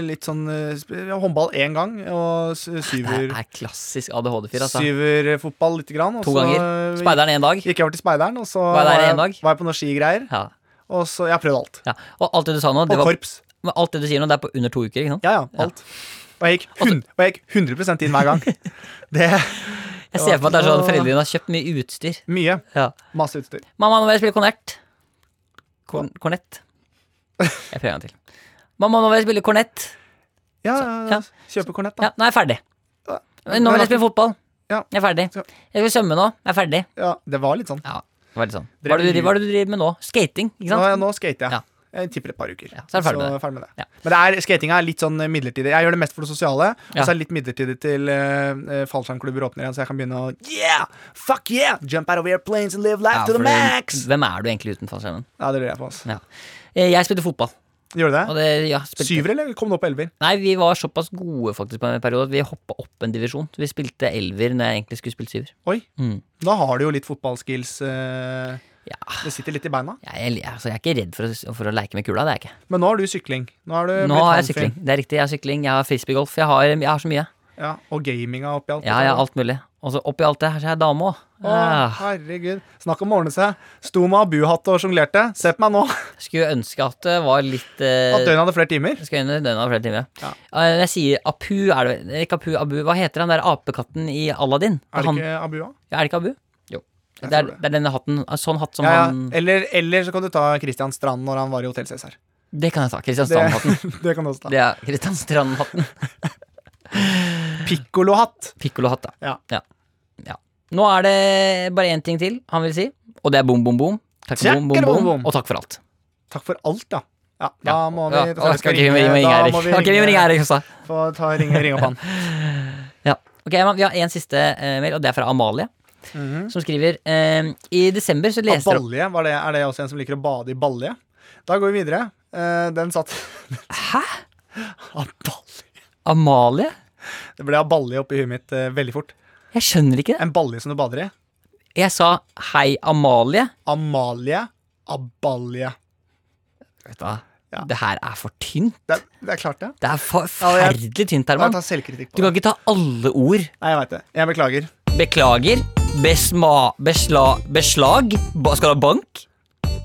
S2: litt sånn eh, sp- ja, håndball én gang, og s-
S3: Det
S2: syver
S3: er klassisk ADHD-fyr, altså.
S2: Syverfotball lite grann. Og
S3: To
S2: så
S3: ganger.
S2: eh,
S3: Speideren én dag.
S2: Gikk jeg over til speideren, og så
S3: Var jeg der
S2: jeg,
S3: en dag?
S2: var jeg på noen skigreier.
S3: Ja.
S2: Og så Jeg har prøvd alt.
S3: ja. Og alt det du sa nå, det
S2: Og
S3: var,
S2: korps.
S3: men alt det du sier nå, det er på under to uker, ikke sant? <laughs>
S2: Ja, ja. Alt. Og jeg gikk, hun, og jeg gikk 100 inn hver gang. Det,
S3: Jeg ser for meg at det er sånn foreldrene dine har kjøpt mye utstyr.
S2: Mye.
S3: Ja.
S2: Masse utstyr.
S3: Mamma, nå vil jeg spille kornett. Korn, kornett. Jeg prøver en gang til. Mamma, nå vil jeg spille kornett.
S2: Ja,
S3: ja.
S2: kjøpe kornett,
S3: Ja,
S2: da.
S3: nå er jeg ferdig. Nå vil jeg spille fotball.
S2: Ja.
S3: Jeg er ferdig. Jeg skal svømme nå. Jeg er ferdig.
S2: Ja, det var litt sånn.
S3: Ja, det var litt sånn. Hva er det du, driver- hva er det du driver med nå? Skating, ikke
S2: Nå,
S3: sant?
S2: ja, nå skater jeg.
S3: Ja.
S2: Jeg tipper et par uker.
S3: Ja, så er du ferdig med det.
S2: ferdig med det.
S3: Ja.
S2: Men det er, skatinga er litt sånn eh, midlertidig. Jeg gjør det mest for det sosiale, og
S3: Ja.
S2: så er det litt midlertidig til eh, eh, fallskjermklubber åpner igjen, så jeg kan begynne å Yeah! Fuck yeah! Jump out of airplanes and live life
S3: Ja,
S2: to the
S3: for
S2: max!
S3: Hvem er du egentlig uten fallskjermen?
S2: Ja, det lurer jeg på. ass.
S3: Ja. Eh, Jeg spilte fotball.
S2: Gjorde
S3: Og
S2: du det?
S3: det, ja, spilte.
S2: Syver, eller kom det opp på elver?
S3: Nei, vi var såpass gode faktisk på en periode at vi hoppa opp en divisjon. Vi spilte elver når jeg egentlig skulle spilt syver.
S2: Oi.
S3: Mm.
S2: Da har du jo litt fotballskills. eh,
S3: Ja.
S2: Det sitter litt i beina.
S3: Jeg, jeg, altså, jeg er ikke redd for å, for å leke med kula, det er jeg ikke.
S2: Men nå har du sykling. Nå har du
S3: Nå
S2: blitt
S3: har jeg
S2: handfin.
S3: sykling. Det er riktig, jeg har sykling, jeg har frisbeegolf, jeg har, jeg har så mye.
S2: Ja, og gaminga oppi alt.
S3: Ja, jeg har alt Ah. mulig. Og så oppi alt det her så er jeg dame òg.
S2: Å, herregud. Snakk om å ordne seg. Sto med abuhatt og sjonglerte. Se på meg nå.
S3: Ah, Skulle ønske at det var litt eh,
S2: At døgnet hadde flere timer.
S3: Skal inn i døgnet flere timer.
S2: Ja.
S3: Eh, Når jeg sier Apu, er det vel- Ikke Apu, Abu. Hva heter han der apekatten i Aladdin?
S2: Er det
S3: han,
S2: ikke abua?
S3: Ja, er det ikke Abu? Jo. Det
S2: Jeg
S3: er,
S2: tror det.
S3: det er denne hatten. Sånn hatt som
S2: Ja, ja.
S3: han
S2: Eller, eller så kan du ta Christian Strand når han var i Hotell Cæsar.
S3: Det kan jeg ta. Kristian
S2: Det,
S3: Strand-hatten.
S2: det <laughs> kan du også ta.
S3: Det er Kristian Strand-hatten.
S2: Pikkolohatt.
S3: Pikkolo-hatt,
S2: Ja.
S3: ja. ja. Nå er det bare én ting til han vil si, og det er bom, bom, bom. Takk for
S2: Tja,
S3: bom, bom,
S2: bom,
S3: bom,
S2: bom.
S3: og takk for alt.
S2: Takk for alt, da. Ja, da
S3: Ja.
S2: må vi
S3: Ja,
S2: da skal
S3: og skal
S2: vi
S3: vi ringe, ringe
S2: da
S3: Eirik.
S2: må
S3: <laughs> Ok, vi må ringe Eirik også.
S2: Få ta, ringe, ringe
S3: <laughs>
S2: opp han.
S3: Ja. Ok, men Vi har en siste eh, mail, og det er fra Amalie,
S2: Mhm.
S3: som skriver eh, I desember så
S2: Ja,
S3: leste
S2: Balje, var det, er det også en som liker å bade i balje? Da går vi videre. Eh, den satt <laughs>
S3: Hæ?
S2: Ah, balje.
S3: Amalie?
S2: Det ble av balje oppi huet mitt eh, veldig fort.
S3: Jeg skjønner ikke det.
S2: En balje som du bader i.
S3: Jeg sa hei, Amalie.
S2: Amalie Abalje.
S3: Vet du hva?
S2: Ja.
S3: Det her er for tynt.
S2: Det, er- det er klart, det.
S3: Det er
S2: Ja, jeg-
S3: forferdelig tynt,
S2: Jeg
S3: Herman.
S2: tar selvkritikk
S3: Du
S2: på
S3: kan
S2: det.
S3: ikke ta alle ord.
S2: Nei, jeg veit det. Jeg beklager.
S3: Beklager. Besma... Besla... Beslag. Ba, skal du ha bank?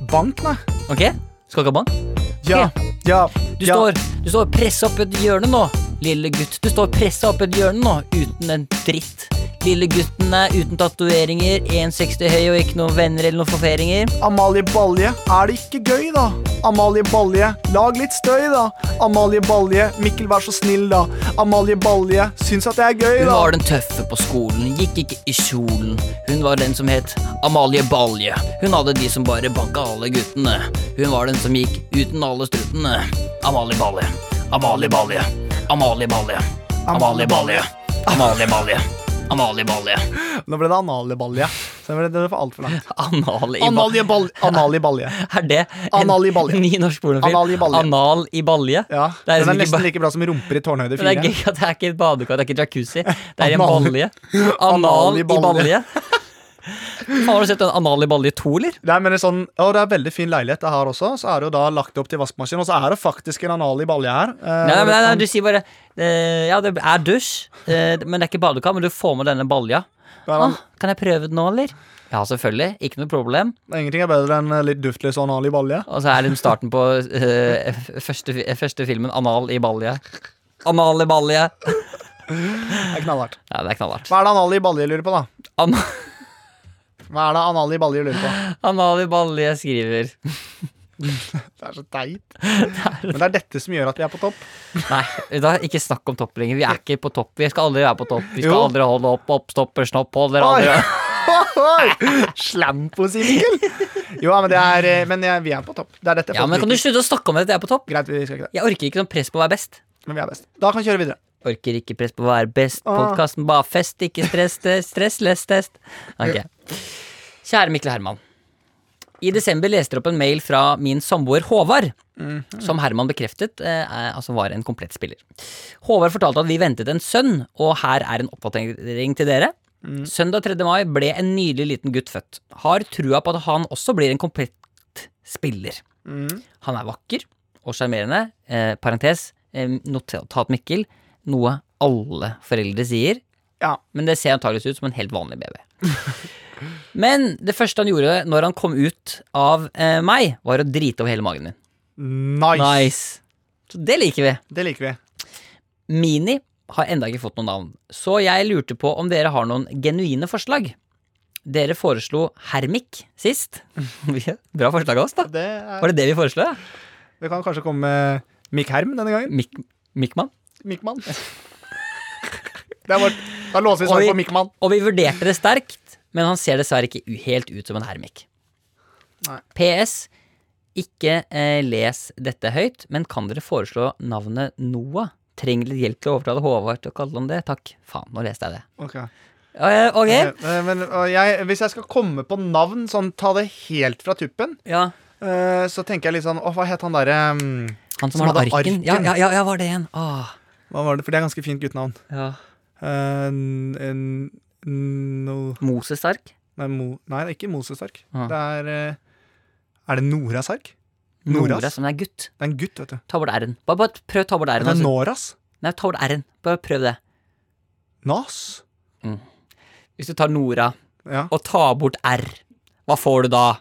S2: Bank, nei.
S3: Ok? Skal du ikke ha bank?
S2: Ja, ja,
S3: Du
S2: ja.
S3: står, du står pressa opp et hjørne nå, lille gutt. Du står pressa opp et hjørne nå, uten en dritt. Lille gutten er uten tatoveringer, 1,60 høy og ikke noen venner eller noen forferinger.
S2: Amalie Balje, er det ikke gøy, da? Amalie Balje, lag litt støy, da. Amalie Balje, Mikkel, vær så snill, da. Amalie Balje, syns at det er gøy,
S3: Hun
S2: da.
S3: var den tøffe på skolen, gikk ikke i kjolen. Hun var den som het Amalie Balje. Hun hadde de som bare banka alle guttene. Hun var den som gikk uten alle struttene. Amalie Balje. Amalie Balje. Amalie Balje. Amalie Balje. Amalie Balje. Amalie Balje.
S2: Nå ble det Analie Balje. Så ble det, det var alt for langt.
S3: Amalie Balje.
S2: Analie Balje. Analie Balje.
S3: Er det
S2: Anal i balje.
S3: ny norsk pornofilm?
S2: Anal i balje.
S3: Anal i balje?
S2: Ja,
S3: <laughs> Det
S2: Den
S3: er,
S2: er
S3: liksom ikke ba-
S2: nesten like bra som Rumper i tårnhøyde
S3: Men det er
S2: 4.
S3: gøy at det er ikke et badekar, det er ikke et jacuzzi. Det er en
S2: Anal-
S3: balje. Anal i
S2: balje.
S3: balje. Faen, Har du sett den Anal i balje 2, eller?
S2: Nei, men det er sånn, og det er veldig fin leilighet det her også. Så er det jo da lagt opp til vaskemaskin, og så er det faktisk en Analie Balje her. Eh,
S3: Nei, nei, nei, nei, du sier bare eh, Ja, det er dusj, eh, men det er ikke badekar. Men du får med denne balja.
S2: men
S3: Ah, kan jeg prøve den nå, eller? Ja, selvfølgelig. Ikke noe problem.
S2: Ingenting er bedre enn eh, litt duftløs Analie Balje.
S3: Og så er det starten på eh, f- første, fi- første filmen, Anal i balje. Anal i balje.
S2: Det er knallhardt.
S3: Ja, det er knallhardt.
S2: Hva er det Analie Balje lurer på, da?
S3: An
S2: Hva er det Analie Balje lurer på?
S3: Anali Balje skriver
S2: Det er så
S3: <laughs>
S2: teit. Men det er dette som gjør at vi er på topp.
S3: Nei, da, ikke snakk om topp lenger. Vi er ikke på topp. Vi skal aldri være på topp. Vi skal
S2: Jo.
S3: aldri holde opp, opp, stopper, snopp, holder
S2: Oi!
S3: aldri
S2: <laughs> Oi! Slampos, Mikkel. Jo, ja, men, det er, eh, men jeg- vi er på topp. Det er dette
S3: Ja,
S2: folk
S3: men Kan du
S2: liker.
S3: slutte å snakke om at jeg er på topp?
S2: Greit, vi skal ikke det.
S3: Jeg orker ikke sånn press på å være best.
S2: Men vi er best. Da kan vi kjøre videre.
S3: Orker ikke press på å være best.
S2: Ah.
S3: Podkasten bare fest, ikke stress, te- stress, less test. Ok. Kjære Mikkel Herman. I desember leste dere opp en mail fra min samboer Håvard, som Herman bekreftet eh, er- altså var en komplett spiller. Håvard fortalte at vi ventet en sønn, og her er en oppdatering til dere. Søndag 3. mai ble en nydelig liten gutt født. Har trua på at han også blir en komplett spiller. Han er vakker og sjarmerende. Eh, parentes, eh, notat Mikkel, noe alle foreldre sier.
S2: Ja.
S3: Men det ser antageligvis ut som en helt vanlig baby. Men det første han gjorde når han kom ut av eh, meg, var å drite over hele magen min.
S2: Nice.
S3: Nice. Så det liker vi.
S2: Det liker vi.
S3: Mini har enda ikke fått noe navn. Så jeg lurte på om dere har noen genuine forslag. Dere foreslo Hermik sist. Bra forslag av oss, da.
S2: Det er,
S3: Var det det vi foreslo? ja?
S2: vi kan kanskje komme med Mikk Herm denne gangen.
S3: Mik Mikman?
S2: Mikkmann. <laughs> Det er vårt. Da låser vi
S3: Oi.
S2: sånn på Mikkmann.
S3: Og vi vurderte det sterkt, men han ser dessverre ikke u- helt ut som en hermik.
S2: Nei.
S3: PS. Ikke eh, les dette høyt, men kan dere foreslå navnet Noah? Trenger litt hjelp til å overtale Håvard til å kalle ham det? Takk. Faen, nå leste jeg det. Eh, ok.
S2: Eh, Men og jeg, hvis jeg skal komme på navn, sånn ta det helt fra tuppen,
S3: Ja.
S2: eh, så tenker jeg litt sånn Å, hva het han derre mm,
S3: Han som,
S2: Som
S3: har
S2: hadde
S3: det arken.
S2: arken.
S3: Ja, ja, ja, ja, var det Ah. igjen. Åh.
S2: Hva var det? For det er ganske fint guttenavn. Eh, n- n- no,
S3: Moses ark.
S2: nei, Mo, nei, det er ikke Moses ark.
S3: Ah.
S2: Det er eh, Er det Noras ark? Noras.
S3: Nora som er gutt.
S2: Det er en gutt, vet du.
S3: Ta bort r-en. Bare, bare prøv å ta bort
S2: Er
S3: r-en.
S2: det
S3: altså.
S2: Noras?
S3: Nei, ta bort r-en. Bare prøv det.
S2: Nas?
S3: Hvis du tar Nora
S2: Ja.
S3: og tar bort r, hva får du da?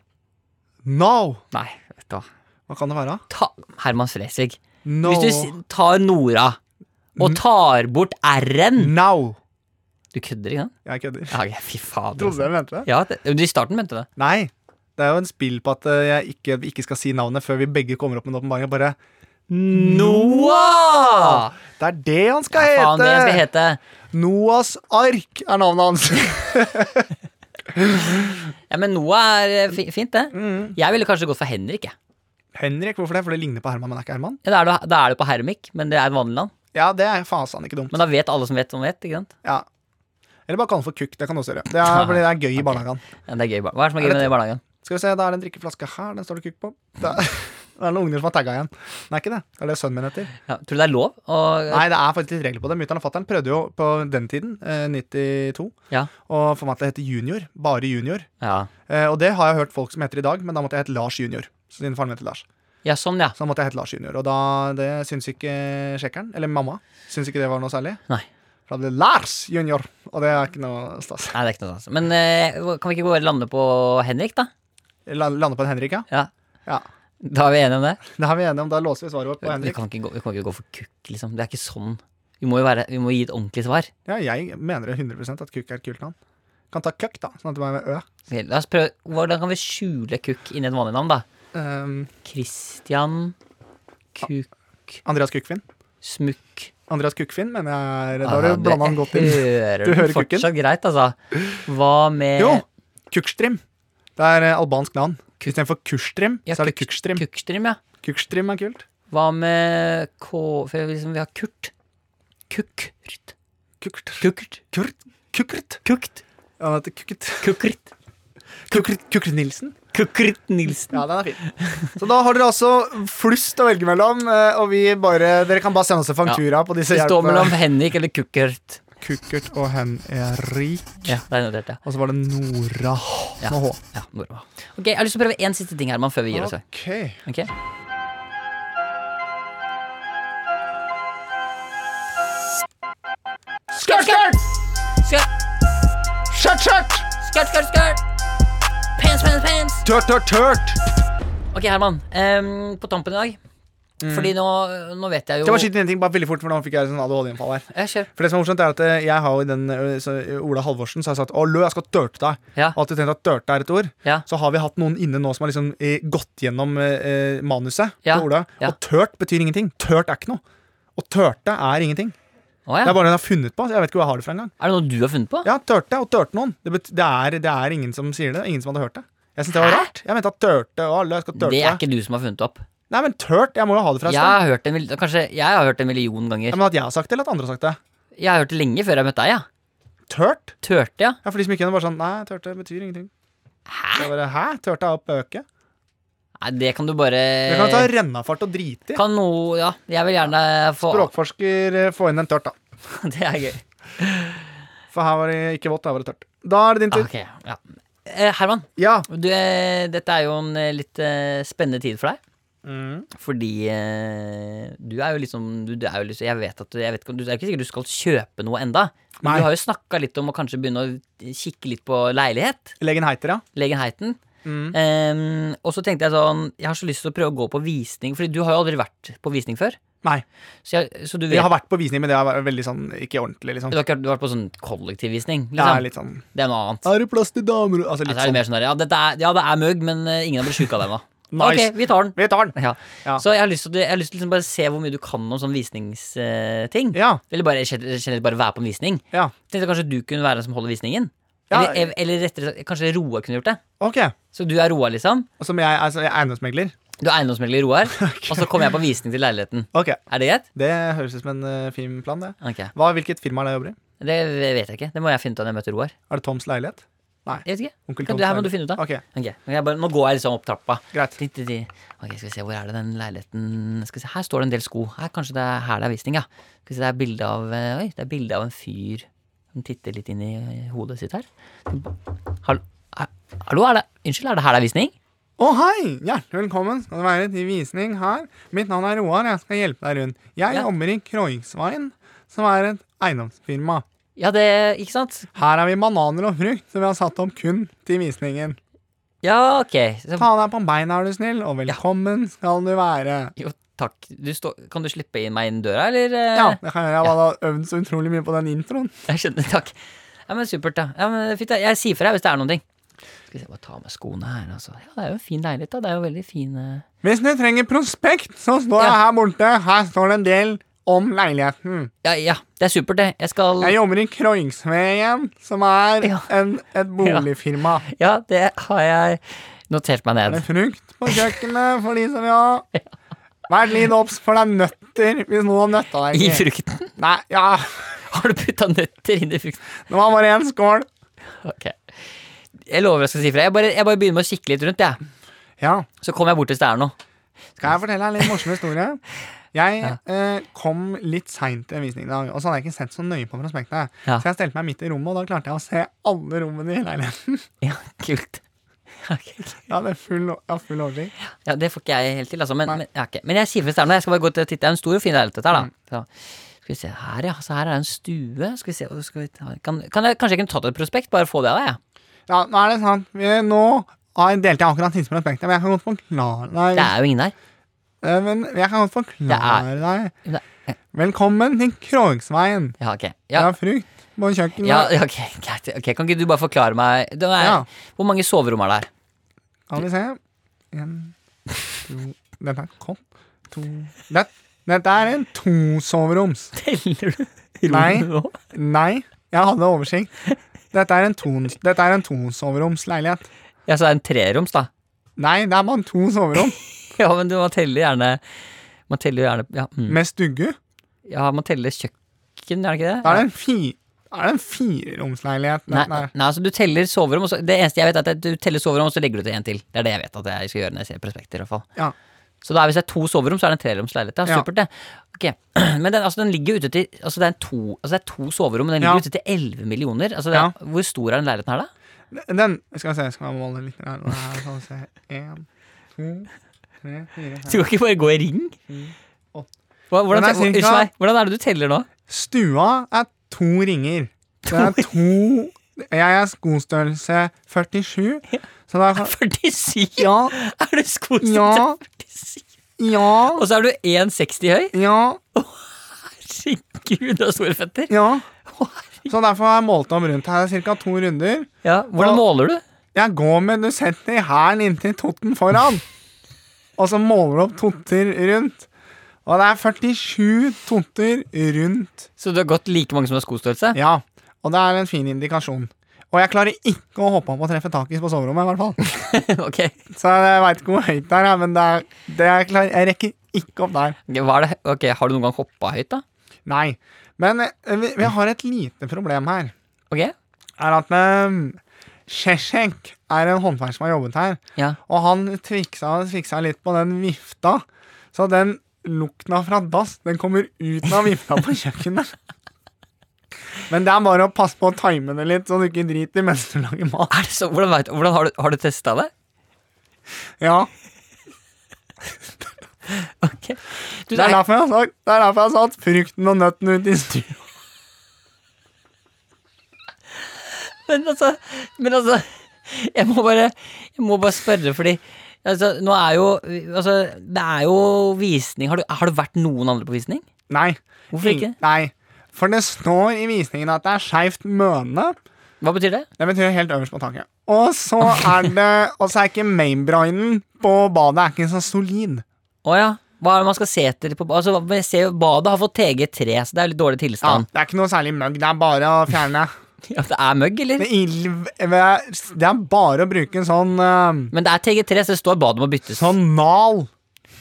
S2: No!
S3: Nei, vet du hva.
S2: Hva kan det være?
S3: ta, Herman Flesvig.
S2: No.
S3: Hvis du s- tar Nora og
S2: Mm.
S3: tar bort R-en
S2: Now!
S3: Du kødder ikke sant?
S2: Jeg kødder.
S3: Ja, ok, fy fader.
S2: Trodde jeg
S3: altså.
S2: mente det.
S3: Ja, det, du, I starten mente du det.
S2: Nei. Det er jo en spill på at eh, jeg ikke, ikke skal si navnet før vi begge kommer opp med en åpenbaring. og Bare
S3: Noah!
S2: Det er det han skal hete!
S3: Faen, det jeg skal hete.
S2: Noas ark er navnet hans. <laughs>
S3: Ja, Men Noah er eh, fi- fint, det.
S2: Mm.
S3: Jeg ville kanskje gått for Henrik. jeg.
S2: Henrik, hvorfor det? For det ligner på Herman, men det er ikke Herman.
S3: Ja, da, er du, da er du på Hermik, men det er et vanlig navn.
S2: Ja, det er faen sann ikke dumt.
S3: Men da vet alle som vet, som vet. ikke sant?
S2: Ja. Eller bare kall den for kukk. Det kan du også gjøre. Det
S3: <laughs>
S2: er, fordi det er gøy i barnehagen.
S3: Ja, det er gøy. bar- Hva er det som er gøy med det i barnehagen?
S2: Skal vi se, da er det en drikkeflaske her. Den står det kukk på. <laughs> Det er, det er noen unger som har tagga igjen. Nei, ikke det. Det er det sønnen min heter.
S3: Ja, tror du det er lov? Og,
S2: Nei, det er faktisk litt regler på det. Mutter'n og fatter'n prøvde jo på den tiden, eh, 92,
S3: Ja.
S2: å få meg til å hete junior. Bare junior.
S3: ja.
S2: Eh, og det har jeg hørt folk som heter i dag, men da måtte jeg hete Lars Junior. Så siden faren min heter Lars.
S3: ja, sånn, ja.
S2: Så da måtte jeg hete Lars Junior. Og da det syns ikke sjekkeren, eller mamma, syns ikke det var noe særlig.
S3: Nei.
S2: For da ble det Lars Junior, og det er ikke noe stas.
S3: Nei, det er ikke noe sånn. Men eh, kan vi ikke bare lande på Henrik, da?
S2: La- Lande på en Henrik, ja?
S3: Ja.
S2: Ja.
S3: Da er vi enige om det?
S2: Det er vi enige om. Da låser vi svaret vårt på
S3: Vi
S2: Henrik.
S3: kan, ikke gå, vi kan ikke gå for kukk, liksom. Det er ikke sånn. Vi må jo være, vi må gi et ordentlig svar.
S2: Ja, jeg mener det 100 at kukk er et kult navn. Kan ta køkk, da, sånn at det bare er med ø.
S3: Ok, La oss prøve, Hvordan kan vi skjule kukk inni et vanlig navn, da?
S2: Um,
S3: Christian Kukk
S2: Andreas Kukkfinn.
S3: Smukk
S2: Andreas Kukkfinn mener jeg Da
S3: Ah,
S2: har du blanda den godt inn.
S3: Hører
S2: Du
S3: du
S2: hører
S3: hører
S2: kukken?
S3: fortsatt greit, altså. Hva med
S2: Jo! Kukkstrim. Det er eh, albansk navn. Istedenfor Kukkstrim,
S3: Ja,
S2: så er det
S3: kukk-
S2: Kukkstrim.
S3: Kukkstrim, ja.
S2: Kukkstrim er kult.
S3: Hva med K... For liksom, vi har Kurt. Kukkert.
S2: Kukkert.
S3: Kukkert.
S2: Kurt. Kukkert.
S3: Kukt.
S2: Han heter Kukkert.
S3: Kukkert.
S2: Kukkert. Kukkert Nilsen.
S3: Kukkert Nilsen.
S2: Ja, den er fin. Så da har dere altså flust å velge mellom, eh, og vi bare Dere kan bare sende oss en faktura på disse
S3: Det står
S2: hjelpene.
S3: mellom Henrik eller Kukkert.
S2: Kukkert og Henrik.
S3: Ja, det er notert, ja.
S2: Og så var det Nora
S3: Ja.
S2: med H.
S3: Ja, Norma. Ok, Jeg har lyst til å prøve én siste ting, Herman, før vi gir oss. her.
S2: Ok.
S3: Ok? Skørt, skørt! Skørt,
S2: Skjørt, skjørt!
S3: skørt, skørt, skørt! Pens, pens, pens!
S2: Tørt, tørt, tørt!
S3: Ok, Herman. em, på tampen i dag Fordi nå, nå vet jeg jo
S2: Skal jeg bare skyte inn en ting bare veldig fort, for nå fikk jeg sånn ADHD-innfall her.
S3: Ja, kjør.
S2: For det som er morsomt, er at eh, jeg har jo i den eh, så, Ola Halvorsen så har jeg sagt 'Å, lø, jeg skal tørte deg'.
S3: Ja.
S2: Og alltid tenkt at 'tørte' er et ord.
S3: Ja.
S2: Så har vi hatt noen inne nå som har liksom eh, gått gjennom eh, eh, manuset
S3: Ja.
S2: til Ola.
S3: Ja.
S2: Og 'tørt' betyr ingenting. 'Tørt' er ikke noe. Og 'tørte' er ingenting.
S3: Å, ja.
S2: Det er bare noe jeg har funnet på. så Jeg vet ikke hvor jeg har det fra engang.
S3: Er det noe du har funnet på?
S2: Ja, 'tørte' og 'tørte noen'. Det, bet det, er, det er ingen som sier det. Ingen som hadde hørt det. Jeg synes det var rart. Jeg mente at 'tørte' og 'lø, jeg skal tørte
S3: det er
S2: deg'.
S3: ikke du som har funnet opp.
S2: Nei, men 'tørt' Jeg må jo ha det fra et
S3: Jeg
S2: sted.
S3: har hørt det en, mil- kanskje, jeg har hørt det en million
S2: Ja,
S3: ganger.
S2: men at jeg har sagt det, eller at andre har sagt det.
S3: Jeg har hørt det lenge før jeg møtte deg. ja
S2: Tørt?
S3: Tørte, ja.
S2: Ja, for de som ikke er bare sånn Nei, tørte betyr ingenting. Hæ? Bare, Hæ? Tørte er å pøke?
S3: Nei, det kan du bare
S2: Jeg kan ta rennafart og drite i.
S3: Eh. Kan noe Ja, jeg vil gjerne få
S2: Språkforsker, eh, få inn en tørt, da.
S3: <laughs> Det er gøy.
S2: For her var det ikke vått, her var det tørt. Da er det din tur.
S3: Ok, ja. Eh, Herman,
S2: Ja.
S3: du, eh, dette er jo en eh, litt eh, spennende tid for deg.
S2: Mm.
S3: Fordi eh, du er jo liksom du, du er jo liksom, Jeg vet at du, jeg vet, ikke om- du det er ikke sikkert du skal kjøpe noe enda Men
S2: Nei.
S3: Du har jo snakka litt om å kanskje begynne å kikke litt på leilighet.
S2: Legenheiter, ja.
S3: Legenheiten.
S2: Mm.
S3: Ehm, og så tenkte jeg sånn Jeg har så lyst til å prøve å gå på visning, Fordi du har jo aldri vært på visning før.
S2: Nei.
S3: Så, jeg, så du vet
S2: Jeg har vært på visning, men det har vært veldig sånn ikke ordentlig, liksom.
S3: du, har ikke, vært- du har vært på sånn kollektivvisning?
S2: Ja,
S3: Liksom.
S2: litt sånn
S3: Det er noe annet.
S2: Er det plass til damer Altså
S3: Ja,
S2: litt
S3: så er det
S2: sånn.
S3: mer sånn der, ja, dette er, ja, det er møgg, men eh, ingen har blitt sjuke av det ennå.
S2: Nice.
S3: Ok, vi tar den.
S2: Vi tar den!
S3: Ja.
S2: Ja.
S3: Så jeg har lyst til, å- jeg har lyst til liksom bare å se hvor mye du kan om sånn visningsting.
S2: Ja.
S3: Eller bare generelt generelt bare være på en visning.
S2: Ja.
S3: Tenkte kanskje du kunne være den som holder visningen.
S2: Ja,
S3: Eller, ev- eller rettere sagt, kanskje Roar kunne gjort det.
S2: Ok.
S3: Så du er Roar, liksom.
S2: Som jeg, altså, jeg er eiendomsmegler.
S3: Du er eiendomsmegler
S2: <laughs>
S3: Roar, og så kommer jeg på visning til leiligheten.
S2: Ok.
S3: Er det greit?
S2: Det høres ut som en eh, fin plan, det.
S3: Ok,
S2: Hva, hvilket firma er det jeg jobber i?
S3: Det vet jeg ikke. Det må jeg finne ut av når jeg møter Roar.
S2: Er det Toms leilighet?
S3: Jeg vet ikke.
S2: Onkel
S3: Kan
S2: Toms
S3: du, her må du
S2: leilighet.
S3: finne ut av.
S2: Ok,
S3: Ok, ok, jeg bare, Nå går jeg liksom opp trappa.
S2: greit.
S3: Ti, ti, ti. Ok, skal vi se, Hvor er det den leiligheten Skal vi se, Her står det en del sko. Her, kanskje det er her det er visning, ja. Skal vi se, Det er bilde av eh, Oi, det er bilde av en fyr som titter litt inn i eh, hodet sitt her. Hallo, er, hallo er det, unnskyld, er det her det er visning?
S2: Å, hei! Hjertelig velkommen skal du være til visning her. Mitt navn er Roar, jeg skal hjelpe deg rundt. Jeg
S3: Ja.
S2: jobber i Kroingsveien, som er et eiendomsfirma.
S3: Ja, det Ikke sant?
S2: Her har vi bananer og frukt som vi har satt opp kun til visningen.
S3: Ja, ok. Så,
S2: Ta deg på beina, er du snill, og velkommen skal du være.
S3: jo, takk. Du står- kan du slippe inn meg inn døra, eller? eh?
S2: Ja, det kan jeg gjøre. Jeg har bare øvd så utrolig mye på den introen.
S3: Jeg skjønner, takk. Ja, men Supert, da. Ja, men fint, da. Jeg sier fra hvis det er noen ting. Skal vi se, bare ta med skoene her, altså. Ja, det er jo en fin leilighet, da. Det er jo veldig fin eh,
S2: Hvis du trenger prospekt, så står jeg
S3: Ja.
S2: her borte. Her står det en del om leiligheten.
S3: Ja, ja, det er supert, det. Jeg skal
S2: Jeg jobber i Kroingsveien, som er
S3: Ja.
S2: en, et boligfirma.
S3: Ja, det har jeg notert meg ned.
S2: Det er frukt på kjøkkenet for de som vil ha. Vær litt obs, for det er nøtter hvis noen har nøtta deg.
S3: I
S2: ikke.
S3: frukten? <laughs>
S2: Nei, ja.
S3: Har du putta nøtter inn i frukten?
S2: Det var bare én skål.
S3: Ok. Jeg lover jeg skal si fra. Jeg bare, jeg bare begynner med å kikke litt rundt, jeg.
S2: Ja,
S3: Så kommer jeg bort hvis det er noe.
S2: skal jeg fortelle deg en litt morsom historie?
S3: <laughs>
S2: Jeg eh, kom litt seint til en visning i dag, og så hadde jeg ikke sett så nøye på prospektet.
S3: Ja.
S2: Så jeg stelte meg midt i rommet, og da klarte jeg å se alle rommene i leiligheten.
S3: <laughs>
S2: <laughs>
S3: Ja, kult. Ok.
S2: Jeg hadde full, jeg hadde full oversikt.
S3: Ja, det får ikke jeg helt til, altså. Men,
S2: Nei.
S3: men, ja, ok. men jeg sier fra hvis det er noe. Jeg skal bare gå til og titte. Det er en stor og fin leilighet her, da. Så. Skal vi se her, ja. Så her er det en stue. Skal vi se hvor skal vi ta? Kan, kan jeg, Kanskje jeg kunne tatt et prospekt? Bare få det av deg, jeg.
S2: Ja, nå er det sant. Vi, nå har jeg delte jeg akkurat siste prospektet, men jeg kan godt forklare deg.
S3: Det er jo ingen der.
S2: Eh, Men jeg kan godt forklare deg.
S3: Det
S2: Velkommen til Krogsveien.
S3: Ja, ok.
S2: Jeg
S3: Ja,
S2: har frukt på kjøkkenet.
S3: Ja, ja, ok, greit. Ok, Kan ikke du bare forklare meg det er,
S2: Ja.
S3: Hvor mange soverom er det her?
S2: Kan vi se. En, to Dette er kom. To det, Dette er en tosoveroms.
S3: Teller du
S2: Nei.
S3: rommene nå?
S2: Nei, jeg hadde oversikt. Dette er en, ton, dette er en tosoveromsleilighet.
S3: Ja, så det er en treroms, da. <laughs>
S2: Nei, det er bare to soverom
S3: Ja, men du, man teller gjerne Man teller gjerne Ja, mm.
S2: med stugge.
S3: ja man teller kjøkken, er det ikke det?
S2: Da er det en, fi, da er det en fireromsleilighet.
S3: Nei,
S2: Nei.
S3: nei, altså du teller soverom, og så, det eneste jeg vet, er at du teller soverom, og så legger du til en til. Det er det jeg vet at jeg skal gjøre når jeg ser prospekter, i hvert fall.
S2: Ja.
S3: Så da, er- hvis det er to soverom, så er det en treromsleilighet. Ja.
S2: Ja.
S3: Supert, det. Ok, <clears throat> Men den, altså, den ligger ute til Altså det er, en to, altså, det er to soverom, men den ligger
S2: Ja.
S3: ute til 11 millioner. Altså, det, er- Hvor stor er den leiligheten her, da?
S2: Den Skal vi se, skal vi måle litt her. her skal vi se. En, to, tre, fire, fem.
S3: Du kan ikke bare gå i ring? Hva, hvordan,
S2: Den er cirka-
S3: unnskyld meg, hvordan er det du teller nå?
S2: Stua er to ringer. Det er to Jeg er skostørrelse 47, så
S3: <laughs>
S2: da kan
S3: 47?
S2: Ja,
S3: Er du skostørrelse
S2: Ja.
S3: 47?
S2: ja,
S3: Og så er du 1,60 høy?
S2: ja,
S3: Herregud, du har store føtter.
S2: <laughs> ja.
S3: Å, herregud.
S2: Så derfor har jeg målt om rundt her. Cirka to runder.
S3: Ja, hvordan
S2: Ja.
S3: måler du?
S2: Jeg går med du setter hælen inntil totten foran, og så måler du opp totter rundt. Og det er 47 totter rundt
S3: Så du har gått like mange som har skostørrelse?
S2: Ja, og det er en fin indikasjon. Og jeg klarer ikke å hoppe opp og treffe taket på soverommet. i hvert fall <laughs>
S3: <laughs> ok,
S2: Så jeg veit ikke hvor høyt det er, ja, men det er, det er klar, jeg rekker ikke opp der.
S3: Ok, hva er det? ok, har du noen gang hoppa høyt, da?
S2: Nei. Men eh, vi, vi har et lite problem her.
S3: Ok,
S2: Er at Sjesjenk er en håndverker som har jobbet her,
S3: ja.
S2: og han fiksa, fiksa litt på den vifta. Så den lukta fra dass, den kommer ut av vifta på kjøkkenet. Men det er bare å passe på å time det litt, så du ikke driter mens du lager mat.
S3: Er det så, hvordan vet, hvordan Har du, har du testa det?
S2: Ja,
S3: Ok. Du,
S2: det er derfor jeg har sagt, det er derfor jeg har satt frukten og nøtten ut i stua.
S3: men altså, men altså Jeg må bare, jeg må bare spørre, fordi altså, nå er jo altså, Det er jo visning. Har du, har du vært noen andre på visning?
S2: Nei.
S3: Hvorfor ikke?
S2: Nei. For det står i visningen at det er skeivt møne.
S3: Hva betyr det?
S2: Det betyr helt øverst på taket. Og så er det Og så er ikke mainbrainen på badet Er ikke så solid.
S3: Å ja. Hva er det man skal se etter på altså, jeg ser jo Badet har fått TG3, så det er litt dårlig
S2: Ja,
S3: tilstand.
S2: det er ikke noe særlig møgg. Det er bare å fjerne.
S3: Ja, det er møgg, eller?
S2: Det er ild- det er bare å bruke en sånn eh,
S3: Men det er TG3, så det står badet må byttes.
S2: Sånn mal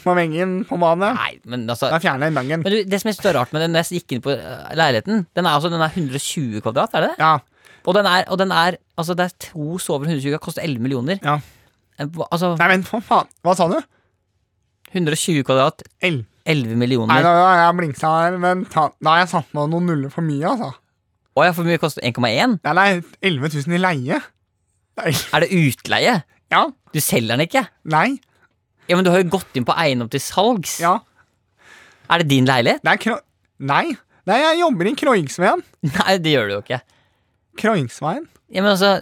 S2: på veggen på badet.
S3: Nei, men altså
S2: Da fjerner jeg møggen.
S3: men du, Det som jeg synes er rart med den når jeg gikk inn på eh, leiligheten Den er, altså, den er 120 kvadrat, er det det?
S2: Ja.
S3: Og den er, og den er Altså, det er to sover 120 kvadrat, koster 11 millioner.
S2: ja.
S3: Eh, hva- Altså,
S2: Nei, vent, for faen. Hva sa du?
S3: 120 kvadrat,
S2: L.
S3: 11
S2: Nei,
S3: millioner.
S2: da har jeg blingsa her, men ta, da har jeg satt med noen nuller for mye, altså.
S3: Å ja, for mye koster 1,1?
S2: Nei, det er 11 000 i leie. Nei.
S3: Er det utleie?
S2: Ja.
S3: Du selger den ikke?
S2: Nei.
S3: Ja, Men du har jo gått inn på eiendom til salgs.
S2: Ja.
S3: Er det din leilighet?
S2: Det er kro... Nei. Nei, jeg jobber i Kroingsveien.
S3: <laughs> Nei, det gjør du jo ikke.
S2: Kroingsveien?
S3: Ja, men altså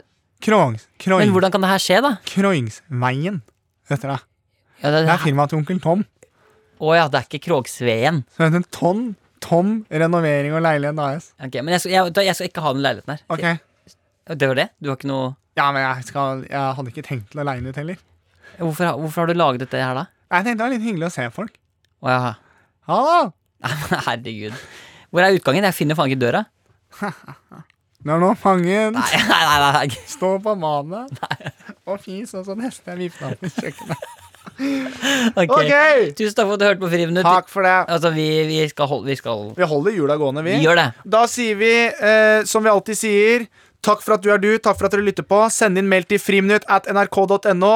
S2: Kroings... Kroings...
S3: Men hvordan kan det her skje, da?
S2: Kroingsveien. Heter det.
S3: Ja, det,
S2: Det er firmaet til onkel Tom.
S3: Å ja, det er ikke Krogsveen.
S2: Som heter Tom, Tom Renovering og Leilighet AS.
S3: Ok, men jeg skal, jeg, da- jeg skal ikke ha den leiligheten her.
S2: Ok.
S3: Det var det? Du har ikke noe
S2: Ja, men jeg, skal, jeg hadde ikke tenkt til å leie den ut heller.
S3: Hvorfor, har- hvorfor har du laget dette her, da?
S2: Jeg tenkte det var litt hyggelig å se folk.
S3: Å ja. <laughs>
S2: Ha det!
S3: Herregud. Hvor er utgangen? Jeg finner faen ikke døra. <laughs>
S2: Når nå fangen
S3: Nei, nei, nei, nei.
S2: står på badet
S3: <laughs>
S2: og fis, og så neste er vifta på kjøkkenet.
S3: Ok.
S2: Ok!
S3: Tusen takk for at du hørte på Friminutt.
S2: Takk for det.
S3: Altså, vi, vi skal holde Vi skal
S2: Vi holder hjula gående,
S3: Vi
S2: vi.
S3: gjør det.
S2: Da sier vi, eh, som vi alltid sier, takk for at du er du, takk for at dere lytter på. Send inn mail til friminutt at nrk.no.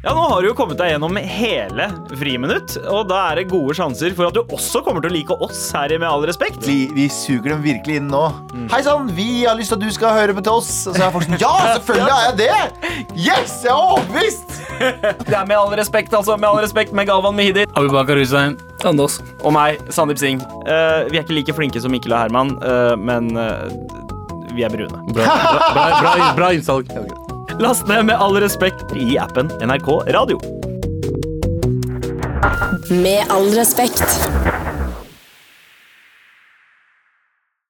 S6: Ja, nå har du jo kommet deg gjennom hele Friminutt, og da er det gode sjanser for at du også kommer til å like oss her i Med all respekt.
S5: Vi, vi suger dem virkelig inn nå.
S4: Mm.
S5: Hei sann, vi har lyst til at du skal høre på til oss. Og så er folk sånn
S4: <laughs>
S5: Ja, selvfølgelig har jeg det! Yes, jeg er overbevist!
S6: Det er Med all respekt, altså. Med all respekt med Galvan Mehidi.
S7: Abubakar Hussein. Anders.
S6: Og meg, Sandeep Singh. Eh, vi er ikke like flinke som Mikkel og Herman, eh, men eh, vi er brune.
S7: Bra, bra, bra, bra, bra innsalg.
S6: Last ned Med all respekt i appen NRK Radio.
S8: Med all respekt.